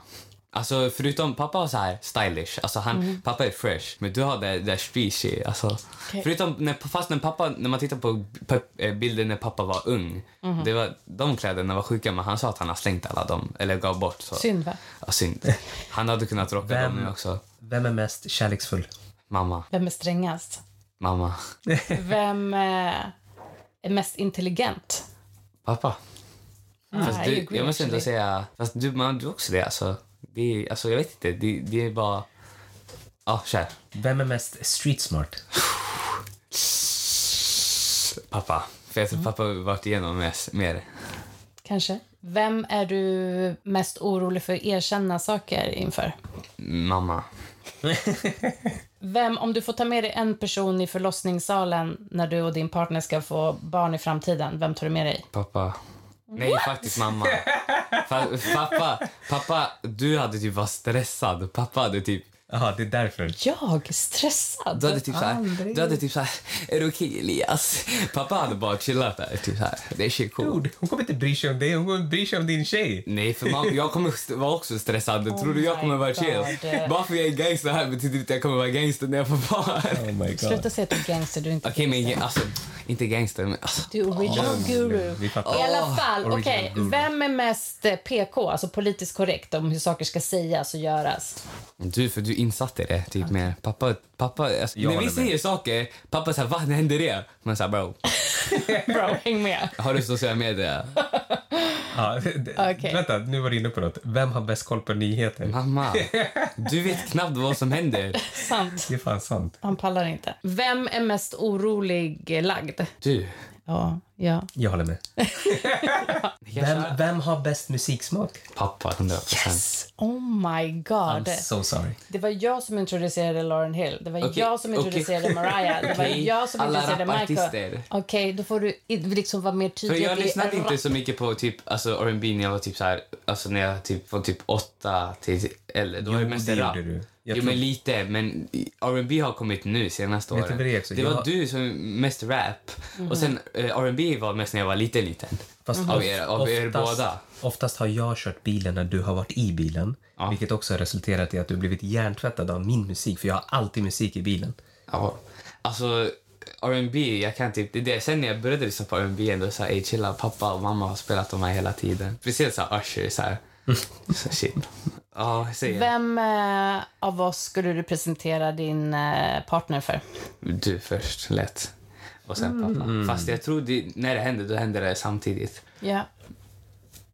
[SPEAKER 2] Alltså förutom pappa var så här stylish, alltså han, pappa är fresh. Men du har det där street shit. Alltså.
[SPEAKER 1] Mhm. Okej.
[SPEAKER 2] Förutom när, fast när pappa, när man tittar på pe- eh, bilden när pappa var ung.
[SPEAKER 1] Mhm.
[SPEAKER 2] Det var, de kläderna var sjuka men han sa att han har slängt alla dem, eller gav bort. Så.
[SPEAKER 1] Synd, va?
[SPEAKER 2] Ja, synd. Han hade kunnat rocka
[SPEAKER 3] Vem?
[SPEAKER 2] dem nu också.
[SPEAKER 3] Vem är mest kärleksfull?
[SPEAKER 2] Mamma,
[SPEAKER 1] Vem är strängast?
[SPEAKER 2] mamma,
[SPEAKER 1] Vem eh, är mest intelligent?
[SPEAKER 2] pappa. Mm. Fast
[SPEAKER 1] Ah, I
[SPEAKER 2] du,
[SPEAKER 1] agree,
[SPEAKER 2] jag måste ändå
[SPEAKER 1] actually.
[SPEAKER 2] säga, fast du, man, du också det alltså. det är, alltså jag vet inte, det, det är bara... Ja, kör.
[SPEAKER 3] Vem är mest street smart?
[SPEAKER 2] pappa. För jag tror
[SPEAKER 1] Mm.
[SPEAKER 2] pappa har varit igenom mest, mer.
[SPEAKER 1] Kanske. Vem är du mest orolig för att erkänna saker inför?
[SPEAKER 2] Mamma.
[SPEAKER 1] Vem, om du får ta med dig en person i förlossningssalen när du och din partner ska få barn i framtiden, vem tar du med dig?
[SPEAKER 2] Pappa. Nej, faktiskt mamma. Fa- pappa, pappa, du hade typ varit stressad. Pappa hade typ...
[SPEAKER 3] Jaha, det är därför.
[SPEAKER 1] Jag? Stressad?
[SPEAKER 2] Du hade typ såhär,
[SPEAKER 1] Aldrig.
[SPEAKER 2] du hade typ såhär, är det okej Elias? Pappa hade bara chillat där, typ såhär, det är shit cool.
[SPEAKER 3] Hon kommer inte bry sig om dig, hon kommer bry sig om din tjej.
[SPEAKER 2] Nej, för mamma, jag kommer st- vara också stressad. Tror du jag
[SPEAKER 1] Oh my
[SPEAKER 2] kommer vara
[SPEAKER 1] God.
[SPEAKER 2] chill? Bara för jag är gangster här betyder inte att jag kommer vara gangster när jag får barn.
[SPEAKER 3] Oh my god.
[SPEAKER 1] Sluta säga att du är gangster, du är inte
[SPEAKER 2] Okej,
[SPEAKER 1] gangster.
[SPEAKER 2] men alltså, inte gangster, men alltså.
[SPEAKER 1] Du är original guru.
[SPEAKER 3] Vi
[SPEAKER 1] I
[SPEAKER 3] fattar.
[SPEAKER 1] alla fall,
[SPEAKER 3] original
[SPEAKER 1] okej,
[SPEAKER 3] guru.
[SPEAKER 1] vem är mest eh, PK, alltså politiskt korrekt om hur saker ska sägas och göras?
[SPEAKER 2] Du, för du insatte det typ mer. Pappa, pappa, alltså,
[SPEAKER 3] Jag
[SPEAKER 2] när vi
[SPEAKER 3] håller med.
[SPEAKER 2] säger saker, pappa säger va, när hände det? Man säger bro,
[SPEAKER 1] Bro, häng med.
[SPEAKER 2] har du sociala medier?
[SPEAKER 3] Ja, det-
[SPEAKER 1] Okej.
[SPEAKER 3] Vänta, nu var du inne på något. Vem har bäst koll på nyheter?
[SPEAKER 2] Mamma, du vet knappt vad som händer.
[SPEAKER 1] Sant.
[SPEAKER 3] Det är fan sant.
[SPEAKER 1] Han pallar inte. Vem är mest orolig eh, lagd?
[SPEAKER 2] Du,
[SPEAKER 1] Ja, ja.
[SPEAKER 3] Jag håller med. Vem, vem har bäst musiksmak?
[SPEAKER 2] pappa 100 procent.
[SPEAKER 1] Yes! Oh my god.
[SPEAKER 3] I'm so sorry.
[SPEAKER 1] Det var jag som introducerade Lauren Hill. Det var
[SPEAKER 2] Okej,
[SPEAKER 1] jag som
[SPEAKER 2] okej.
[SPEAKER 1] introducerade Mariah. Det var
[SPEAKER 2] Okej,
[SPEAKER 1] jag som
[SPEAKER 2] alla
[SPEAKER 1] introducerade Michael.
[SPEAKER 2] rapartister.
[SPEAKER 1] Okej, då får du i- liksom vara mer
[SPEAKER 2] För
[SPEAKER 1] tydlig.
[SPEAKER 2] jag
[SPEAKER 1] att vi
[SPEAKER 2] lyssnade
[SPEAKER 1] är
[SPEAKER 2] inte så mycket på typ, alltså, R&B när jag var typ så här, alltså när jag typ, från typ 8 till eller Då var det
[SPEAKER 3] Jo,
[SPEAKER 2] mest
[SPEAKER 3] det
[SPEAKER 2] rap.
[SPEAKER 3] gjorde du. Jag
[SPEAKER 2] Jo,
[SPEAKER 3] tror-
[SPEAKER 2] men lite. Men R&B har kommit nu senaste
[SPEAKER 3] Vet du
[SPEAKER 2] åren.
[SPEAKER 3] vad det är också?
[SPEAKER 2] var
[SPEAKER 3] Jag- Mhm.
[SPEAKER 2] du som mest rap. Och sen eh, R&B var mest när jag var liten, liten.
[SPEAKER 3] Fast
[SPEAKER 2] Av er- av er båda.
[SPEAKER 3] Oftast har jag kört bilen när du har varit i bilen. Vilket också har resulterat i att du blivit hjärntvättad av min musik. För jag har alltid musik i bilen.
[SPEAKER 2] Ja. Alltså, R&B, jag kan typ... Det är det. Sen när jag började lyssna på R&B ändå så här, "Ey, chilla, pappa och mamma har spelat de här hela tiden. Speciellt så här Usher, så här. så shit. Ja, säg en.
[SPEAKER 1] Vem eh, av oss skulle du presentera din eh, partner för?
[SPEAKER 2] Du först, lätt. Och sen pappa. Fast jag tror det, när det händer, då händer det samtidigt.
[SPEAKER 1] Ja.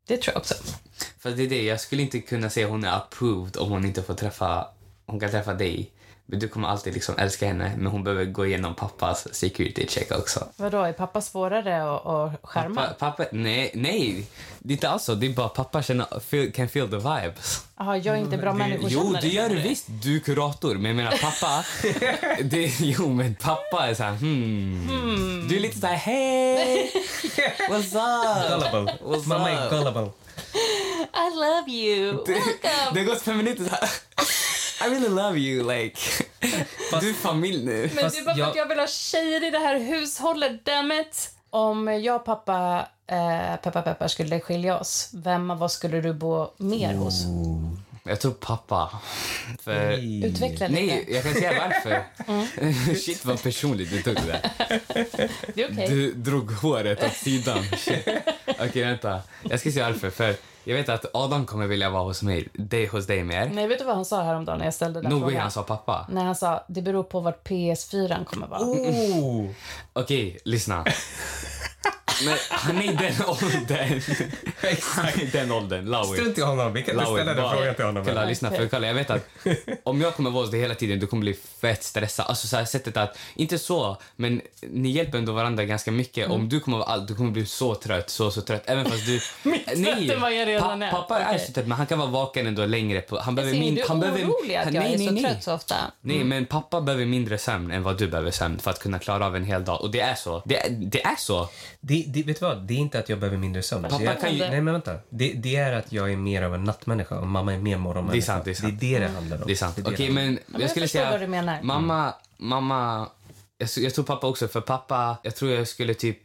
[SPEAKER 1] Det tror jag också.
[SPEAKER 2] För det är det, jag skulle inte kunna säga hon är approved om hon inte får träffa... Hon kan träffa dig. Men du kommer alltid liksom älska henne. Men hon behöver gå igenom pappas security check också.
[SPEAKER 1] Vadå, är pappa svårare att- att skärma?
[SPEAKER 2] Pappa, pappa, nej, nej, det är inte alls så. Det är bara pappa känner, feel, can feel the vibes.
[SPEAKER 1] Jaha, jag är inte bra
[SPEAKER 2] Mm, Jo,
[SPEAKER 1] människokännare.
[SPEAKER 2] det gör du visst. Du är kurator. Men jag menar pappa, det, jo men pappa är så här, hmm. Du är lite så här, hej, what's up?
[SPEAKER 3] Gullible.
[SPEAKER 2] What's
[SPEAKER 3] Mamma är
[SPEAKER 2] up?
[SPEAKER 3] gullible.
[SPEAKER 1] I love you!
[SPEAKER 2] Det,
[SPEAKER 1] Welcome!
[SPEAKER 2] det har gått fem minuter så här. I really love you, like. Du är familj nu.
[SPEAKER 1] Men
[SPEAKER 3] Fast
[SPEAKER 1] det är bara för
[SPEAKER 3] jag-
[SPEAKER 1] att jag vill ha tjejer i det här hushållet, dammit! Om jag och pappa, eh, peppa peppa, skulle skilja oss, vem av oss skulle du bo mer hos?
[SPEAKER 2] Jag tror pappa. För,
[SPEAKER 1] Utveckla lite.
[SPEAKER 2] nej, jag kan säga varför. Shit vad personligt du tog det där.
[SPEAKER 1] Det är okej.
[SPEAKER 2] Du drog håret åt sidan. Shit. Okej, vänta. Jag ska se varför. För jag vet att Adam kommer vilja vara hos mig. Dig hos dig mer.
[SPEAKER 1] Nej, vet du vad han sa häromdagen när jag ställde den
[SPEAKER 2] No way
[SPEAKER 1] frågan?
[SPEAKER 2] han sa pappa.
[SPEAKER 1] När han sa, det beror på vart PS4 kommer vara.
[SPEAKER 3] Oh.
[SPEAKER 2] Okej, lyssna. Men han är i den åldern. Han är i den åldern. Lowey.
[SPEAKER 3] Strunt i honom. Vi kan inte
[SPEAKER 2] Lowey,
[SPEAKER 3] ställa den
[SPEAKER 2] bara-
[SPEAKER 3] frågan till honom.
[SPEAKER 2] Kolla, lyssna. För kolla, jag vet att om jag kommer vara hos dig hela tiden, du kommer bli fett stressad. Alltså så här sättet att, inte så, men ni hjälper ändå varandra ganska mycket.
[SPEAKER 1] Mm.
[SPEAKER 2] Om du kommer vara allt, du kommer bli så trött, så, så trött. Även fast du...
[SPEAKER 1] trötten var jag redan är.
[SPEAKER 2] pappa är så trött, men han kan vara vaken ändå längre. På, han
[SPEAKER 1] Ser
[SPEAKER 2] behöver min,
[SPEAKER 1] du
[SPEAKER 2] han behöver,
[SPEAKER 1] orolig att
[SPEAKER 2] han-
[SPEAKER 1] jag
[SPEAKER 2] nej,
[SPEAKER 1] är
[SPEAKER 2] nej,
[SPEAKER 1] så
[SPEAKER 2] nej.
[SPEAKER 1] trött Mm. så ofta?
[SPEAKER 2] Nej, men pappa behöver mindre sömn än vad du behöver sömn för att kunna klara av en hel dag. Och det är så. Det, är- det är så.
[SPEAKER 3] Det, det, vet du vad? Det är inte att jag behöver mindre sömn.
[SPEAKER 2] Pappa
[SPEAKER 3] jag,
[SPEAKER 2] kan ju-
[SPEAKER 3] Nej, men vänta. Det, det är att jag är mer av en nattmänniska och mamma är mer morgonmänniska.
[SPEAKER 2] Det är sant, det är sant.
[SPEAKER 3] det är det det handlar om.
[SPEAKER 2] Det är sant.
[SPEAKER 3] det
[SPEAKER 2] Okej,
[SPEAKER 3] det
[SPEAKER 2] men
[SPEAKER 1] men
[SPEAKER 2] jag
[SPEAKER 1] jag
[SPEAKER 2] skulle
[SPEAKER 1] förstår
[SPEAKER 2] säga...
[SPEAKER 1] vad du menar.
[SPEAKER 2] Mamma, mamma... Jag, jag tror pappa också, för pappa... Jag tror jag skulle typ...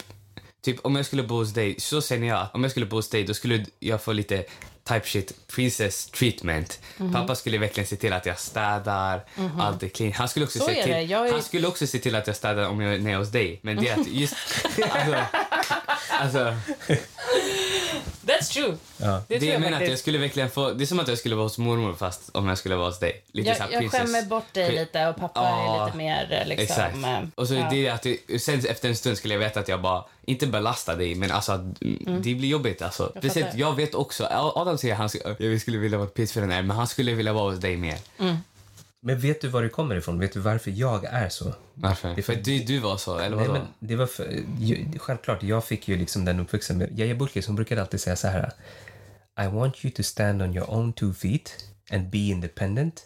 [SPEAKER 2] Typ om jag skulle bo hos dig, så känner jag att om jag skulle bo hos dig då skulle jag få lite type shit princess treatment.
[SPEAKER 1] Mhm.
[SPEAKER 2] Pappa skulle verkligen se till att jag städar, allt är clean. Han skulle också,
[SPEAKER 1] Så
[SPEAKER 2] se
[SPEAKER 1] är
[SPEAKER 2] till,
[SPEAKER 1] det, jag är-
[SPEAKER 2] han skulle också se till att jag städar om jag är nere hos dig. Men det är att just... alltså, alltså,
[SPEAKER 1] That's true.
[SPEAKER 3] Ja.
[SPEAKER 1] Det
[SPEAKER 2] det
[SPEAKER 1] tror jag
[SPEAKER 2] jag menar att
[SPEAKER 1] faktiskt.
[SPEAKER 2] jag skulle verkligen få... Det är som att jag skulle vara hos mormor fast om jag skulle vara hos dig. Lite så
[SPEAKER 1] Jag,
[SPEAKER 2] här
[SPEAKER 1] jag
[SPEAKER 2] princess-
[SPEAKER 1] skämmer bort dig
[SPEAKER 2] pri-
[SPEAKER 1] lite och pappa är
[SPEAKER 2] Ja,
[SPEAKER 1] lite mer eh, liksom...
[SPEAKER 2] Exakt.
[SPEAKER 1] eh,
[SPEAKER 2] Och så
[SPEAKER 1] ja.
[SPEAKER 2] det är att det, sen efter en stund skulle jag veta att jag bara, inte belastar dig, men alltså att mm, det blir jobbigt. Alltså. Jag,
[SPEAKER 1] fattar.
[SPEAKER 2] jag
[SPEAKER 1] Mm.
[SPEAKER 2] vet också, Adam säger att han skulle- jag skulle vilja vara PS4 när, men han skulle vilja vara hos dig mer.
[SPEAKER 3] Men vet du var det kommer ifrån? Vet du varför jag är så?
[SPEAKER 2] Varför?
[SPEAKER 3] är för-
[SPEAKER 2] för du, du var så, eller
[SPEAKER 3] Nej,
[SPEAKER 2] vadå?
[SPEAKER 3] men det var för, ju, självklart, jag fick ju liksom den uppväxten. med- Yahya Bulkis hon brukade alltid säga så här. I want you to stand on your own two feet and be independent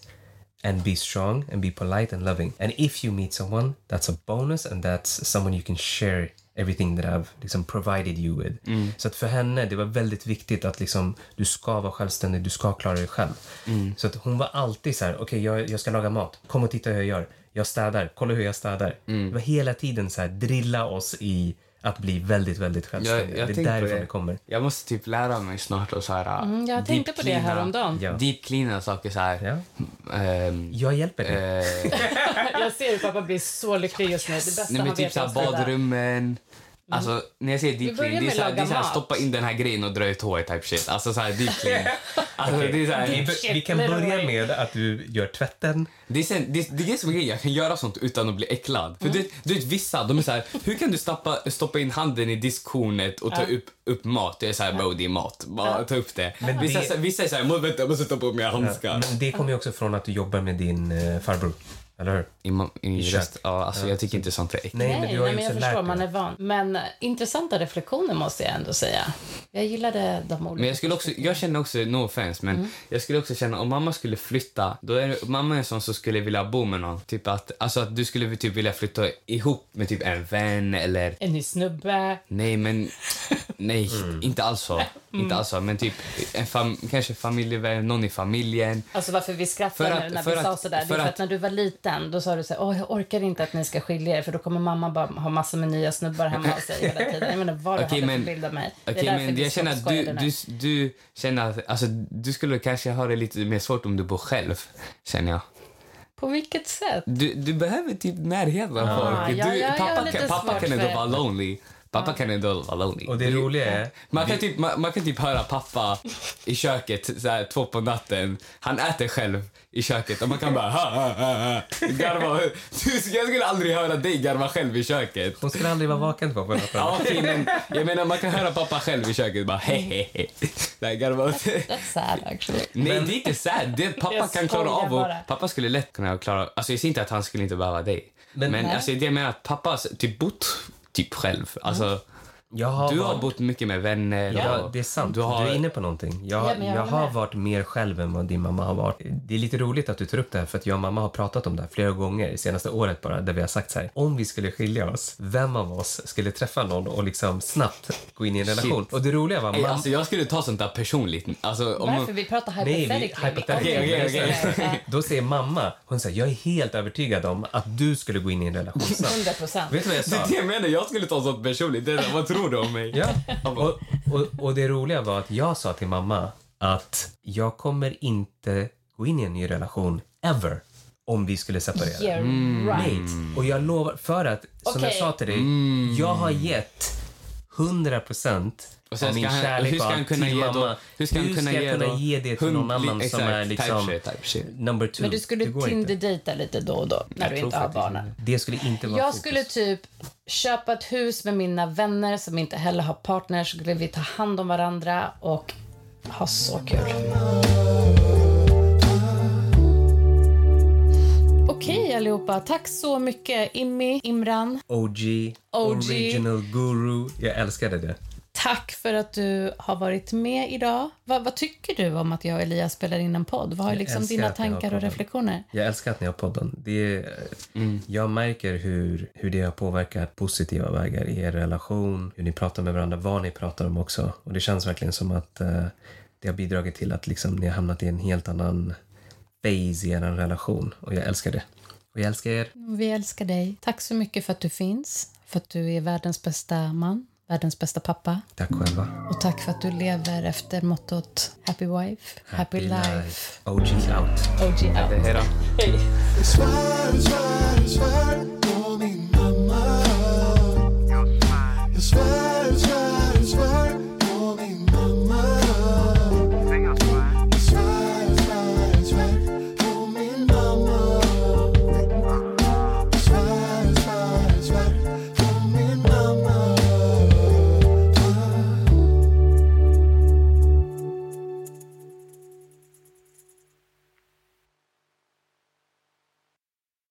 [SPEAKER 3] and be strong and be polite and loving. And if you meet someone, that's a bonus and that's someone you can share everything that I've liksom provided you with.
[SPEAKER 2] Mm.
[SPEAKER 3] Så att för henne, det var väldigt viktigt att liksom, du ska vara självständig, du ska klara dig själv.
[SPEAKER 2] Mm.
[SPEAKER 3] Så att hon var alltid så här, okej jag, jag ska laga mat, kom och titta hur jag gör. Jag städar, kolla hur jag städar.
[SPEAKER 2] Mm.
[SPEAKER 3] Det var hela tiden så här, drilla oss i att bli väldigt, väldigt självständiga.
[SPEAKER 2] Jag- jag
[SPEAKER 3] det är
[SPEAKER 2] tänkte på
[SPEAKER 3] därifrån det.
[SPEAKER 2] det.
[SPEAKER 3] kommer.
[SPEAKER 2] Jag måste typ lära mig snart att så här, äh,
[SPEAKER 1] Mm, jag
[SPEAKER 2] deep
[SPEAKER 1] tänkte på det
[SPEAKER 2] cleana-
[SPEAKER 1] häromdagen.
[SPEAKER 3] Ja.
[SPEAKER 2] Deep cleana saker så här.
[SPEAKER 3] Ja.
[SPEAKER 2] ehm,
[SPEAKER 3] Jag hjälper dig.
[SPEAKER 2] eh,
[SPEAKER 1] Jag ser hur pappa blir så lycklig just nu. Det bästa
[SPEAKER 2] Nej, men
[SPEAKER 1] han
[SPEAKER 2] typ
[SPEAKER 1] vet är
[SPEAKER 2] såhär
[SPEAKER 1] att städa.
[SPEAKER 2] badrummen. Alltså när jag säger
[SPEAKER 1] Vi
[SPEAKER 2] deep
[SPEAKER 1] börjar
[SPEAKER 2] clean, det är
[SPEAKER 1] med
[SPEAKER 2] såhär,
[SPEAKER 1] laga
[SPEAKER 2] det är såhär
[SPEAKER 1] mat.
[SPEAKER 2] stoppa in den här grejen och dra ut håret type shit. Alltså såhär deep clean. Alltså det är
[SPEAKER 3] Vi,
[SPEAKER 2] såhär,
[SPEAKER 3] vi kan
[SPEAKER 1] Jätteroligt.
[SPEAKER 3] börja med att du gör tvätten.
[SPEAKER 2] det är, sen, det, det är det som är grejen, jag kan göra sånt utan att bli äcklad.
[SPEAKER 1] Mm.
[SPEAKER 2] För du, du vet vissa, de är såhär, hur kan du stoppa, stoppa in handen i diskkornet och ta upp, upp mat? Jag är såhär, bro det är mat, bara ta upp det. vissa,
[SPEAKER 3] det-
[SPEAKER 2] vissa är såhär, "Jag må- vänta jag måste ta på mig handskar.
[SPEAKER 3] Men det kommer ju också från att du jobbar med din eh, farbror. Eller hur?
[SPEAKER 2] I, ma- i
[SPEAKER 3] kök.
[SPEAKER 2] rest, ja, alltså, jag tycker inte sånt är äckligt.
[SPEAKER 3] Nej, men
[SPEAKER 1] Nej,
[SPEAKER 3] du har
[SPEAKER 1] nej,
[SPEAKER 3] ju
[SPEAKER 1] men jag
[SPEAKER 3] också
[SPEAKER 1] förstår,
[SPEAKER 3] lärt
[SPEAKER 1] man är
[SPEAKER 3] dig.
[SPEAKER 1] van. Men eh, intressanta reflektioner måste jag ändå säga. Jag gillade de olika.
[SPEAKER 2] Men jag skulle också, jag känner också, no offense,
[SPEAKER 1] Mm.
[SPEAKER 2] men jag skulle också känna om mamma skulle flytta, då är det- mamma är en sån som skulle vilja bo med någon. Typ att, alltså att du skulle typ vilja flytta ihop med typ en vän eller
[SPEAKER 1] En ny snubbe.
[SPEAKER 2] nej men, nej inte alls så.
[SPEAKER 1] Mm.
[SPEAKER 2] Inte alls så, men typ en fam, kanske familjevän, någon i familjen.
[SPEAKER 1] Alltså varför vi skrattar
[SPEAKER 2] För
[SPEAKER 1] nu
[SPEAKER 2] att-
[SPEAKER 1] när
[SPEAKER 2] för
[SPEAKER 1] vi sa
[SPEAKER 2] att-
[SPEAKER 1] sådär. det är
[SPEAKER 2] för
[SPEAKER 1] för att,
[SPEAKER 2] att-
[SPEAKER 1] när du var liten då sa du så här, Åh, jag orkar inte att ni ska skilja er för då kommer mamma bara ha massor med nya snubbar hemma hos sig hela tiden. Jag menar vad du
[SPEAKER 2] Okej,
[SPEAKER 1] hade
[SPEAKER 2] men-
[SPEAKER 1] för bild av mig.
[SPEAKER 2] Okej,
[SPEAKER 1] därför
[SPEAKER 2] men
[SPEAKER 1] det är
[SPEAKER 2] jag
[SPEAKER 1] så
[SPEAKER 2] känner att du,
[SPEAKER 1] skojade nu.
[SPEAKER 2] du, du känner att, alltså du skulle kanske ha det lite mer svårt om du bor själv, känner jag.
[SPEAKER 1] På vilket sätt?
[SPEAKER 2] Du, du behöver typ närheten av
[SPEAKER 1] Ah,
[SPEAKER 2] folk.
[SPEAKER 1] ja,
[SPEAKER 2] Du,
[SPEAKER 1] jag- jag har
[SPEAKER 2] pappa
[SPEAKER 1] lite
[SPEAKER 2] kan, pappa
[SPEAKER 1] svårt
[SPEAKER 2] kan ändå
[SPEAKER 1] för-
[SPEAKER 2] vara lonely. Pappa kan ändå vara lonely.
[SPEAKER 3] Och det
[SPEAKER 2] Du-
[SPEAKER 3] roliga är...
[SPEAKER 2] Man kan, typ, man, man kan typ höra pappa i köket så här, två på natten. Han äter själv i köket och man kan bara ha, ha, ha, ha. garva. Du, Jag skulle aldrig höra dig garva själv i köket.
[SPEAKER 3] Hon skulle aldrig vara vaken på natten.
[SPEAKER 2] Ja, okej, men jag menar man kan höra pappa själv i köket bara he he he. Så här, garva åt.
[SPEAKER 1] That's sad actually.
[SPEAKER 2] Nej, det är inte sad. Det, pappa
[SPEAKER 1] Jag
[SPEAKER 2] kan klara
[SPEAKER 1] skojar
[SPEAKER 2] av och,
[SPEAKER 1] bara.
[SPEAKER 2] Pappa skulle lätt kunna klara... Alltså jag säger inte att han skulle inte behöva dig. Men,
[SPEAKER 1] Nej.
[SPEAKER 2] alltså, det jag menar att pappa har typ bott typ
[SPEAKER 3] Mm.
[SPEAKER 2] själv. Alltså,
[SPEAKER 3] Jag har
[SPEAKER 2] Du har
[SPEAKER 3] varit-
[SPEAKER 2] bott mycket med vänner.
[SPEAKER 3] Ja,
[SPEAKER 2] och-
[SPEAKER 3] det är sant.
[SPEAKER 2] Du
[SPEAKER 3] Du,
[SPEAKER 2] har,
[SPEAKER 3] är inne på någonting. Jag,
[SPEAKER 1] Ja, men
[SPEAKER 3] jag,
[SPEAKER 1] jag håller
[SPEAKER 3] har
[SPEAKER 1] med.
[SPEAKER 3] varit mer själv än vad din mamma har varit. Det är lite roligt att du tar upp det här för att jag och mamma har pratat om det här flera gånger det senaste året bara där vi har sagt så här. Om vi skulle skilja oss, vem av oss skulle träffa någon och liksom snabbt gå in i en relation? Och det roliga var...
[SPEAKER 2] Ey,
[SPEAKER 3] mamma-
[SPEAKER 2] alltså, jag skulle ta sånt där personligt. Alltså, om
[SPEAKER 1] Varför? Vi pratar
[SPEAKER 3] Nej, vi-
[SPEAKER 1] hypothetically.
[SPEAKER 3] hypothetically.
[SPEAKER 2] Okej, okej, okej.
[SPEAKER 1] Ja,
[SPEAKER 3] Då säger mamma, hon säger jag är helt övertygad om att du skulle gå in i en relation snabbt.
[SPEAKER 1] 100 procent.
[SPEAKER 3] Vet du vad jag
[SPEAKER 2] Det
[SPEAKER 3] sa?
[SPEAKER 2] är det jag menar. Jag skulle ta sånt personligt. Det är, så här, vad tror du om mig?
[SPEAKER 3] Ja. Och, och, och det roliga var att jag sa till mamma att jag kommer inte gå in i en ny relation ever om vi skulle separera.
[SPEAKER 1] You're
[SPEAKER 2] Mm.
[SPEAKER 1] right.
[SPEAKER 3] Nej. Och jag lovar, för att som jag
[SPEAKER 1] Okej.
[SPEAKER 3] sa till dig,
[SPEAKER 2] Mm.
[SPEAKER 3] jag har gett 100 procent
[SPEAKER 2] Och sen
[SPEAKER 3] av min
[SPEAKER 2] ska han-
[SPEAKER 3] kärlek
[SPEAKER 2] hur ska
[SPEAKER 3] och
[SPEAKER 2] han
[SPEAKER 3] allt
[SPEAKER 2] kunna
[SPEAKER 3] till
[SPEAKER 2] ge
[SPEAKER 3] mamma.
[SPEAKER 2] då- hur ska han kunna
[SPEAKER 3] jag
[SPEAKER 2] ge
[SPEAKER 3] kunna
[SPEAKER 2] då
[SPEAKER 3] ge det till någon
[SPEAKER 2] hund-
[SPEAKER 3] annan
[SPEAKER 2] exakt,
[SPEAKER 3] som är
[SPEAKER 2] type
[SPEAKER 3] liksom
[SPEAKER 2] shit, type shit.
[SPEAKER 3] number two?
[SPEAKER 1] Men du skulle
[SPEAKER 3] Det går inte.
[SPEAKER 1] Tinder-dejta lite då och då när
[SPEAKER 2] Jag
[SPEAKER 1] du
[SPEAKER 2] tror
[SPEAKER 1] inte har
[SPEAKER 2] faktiskt
[SPEAKER 1] barnen.
[SPEAKER 3] Det skulle inte vara
[SPEAKER 1] Jag
[SPEAKER 3] fokus.
[SPEAKER 1] skulle typ köpa ett hus med mina vänner som inte heller har partners. Så skulle vi ta hand om varandra och ha så kul. Okej allihopa, tack så mycket Immi, Imran.
[SPEAKER 3] OG,
[SPEAKER 1] OG.
[SPEAKER 3] original guru. Jag älskade det.
[SPEAKER 1] Tack för att du har varit med idag. Vad, vad tycker du om att jag och Elias spelar in en podd? Vad är liksom
[SPEAKER 3] älskar
[SPEAKER 1] dina
[SPEAKER 3] att ni har
[SPEAKER 1] tankar och
[SPEAKER 3] podden.
[SPEAKER 1] reflektioner?
[SPEAKER 3] Jag älskar att ni har podden. Det är, Jag märker hur, hur det har påverkat positiva vägar i er relation, hur ni pratar med varandra, vad ni pratar om också. Och det känns verkligen som att eh, det har bidragit till att liksom, ni har hamnat i en helt annan phase i er relation. Och jag älskar det. Och jag älskar er.
[SPEAKER 1] Vi älskar dig. Tack så mycket för att du finns, för att du är världens bästa man, världens bästa pappa.
[SPEAKER 3] Tack själva.
[SPEAKER 1] Och tack för att du lever efter mottot Happy Wife, Happy, life.
[SPEAKER 3] OG out.
[SPEAKER 1] OG out.
[SPEAKER 2] Hej då.
[SPEAKER 4] Svär, svär, svär på min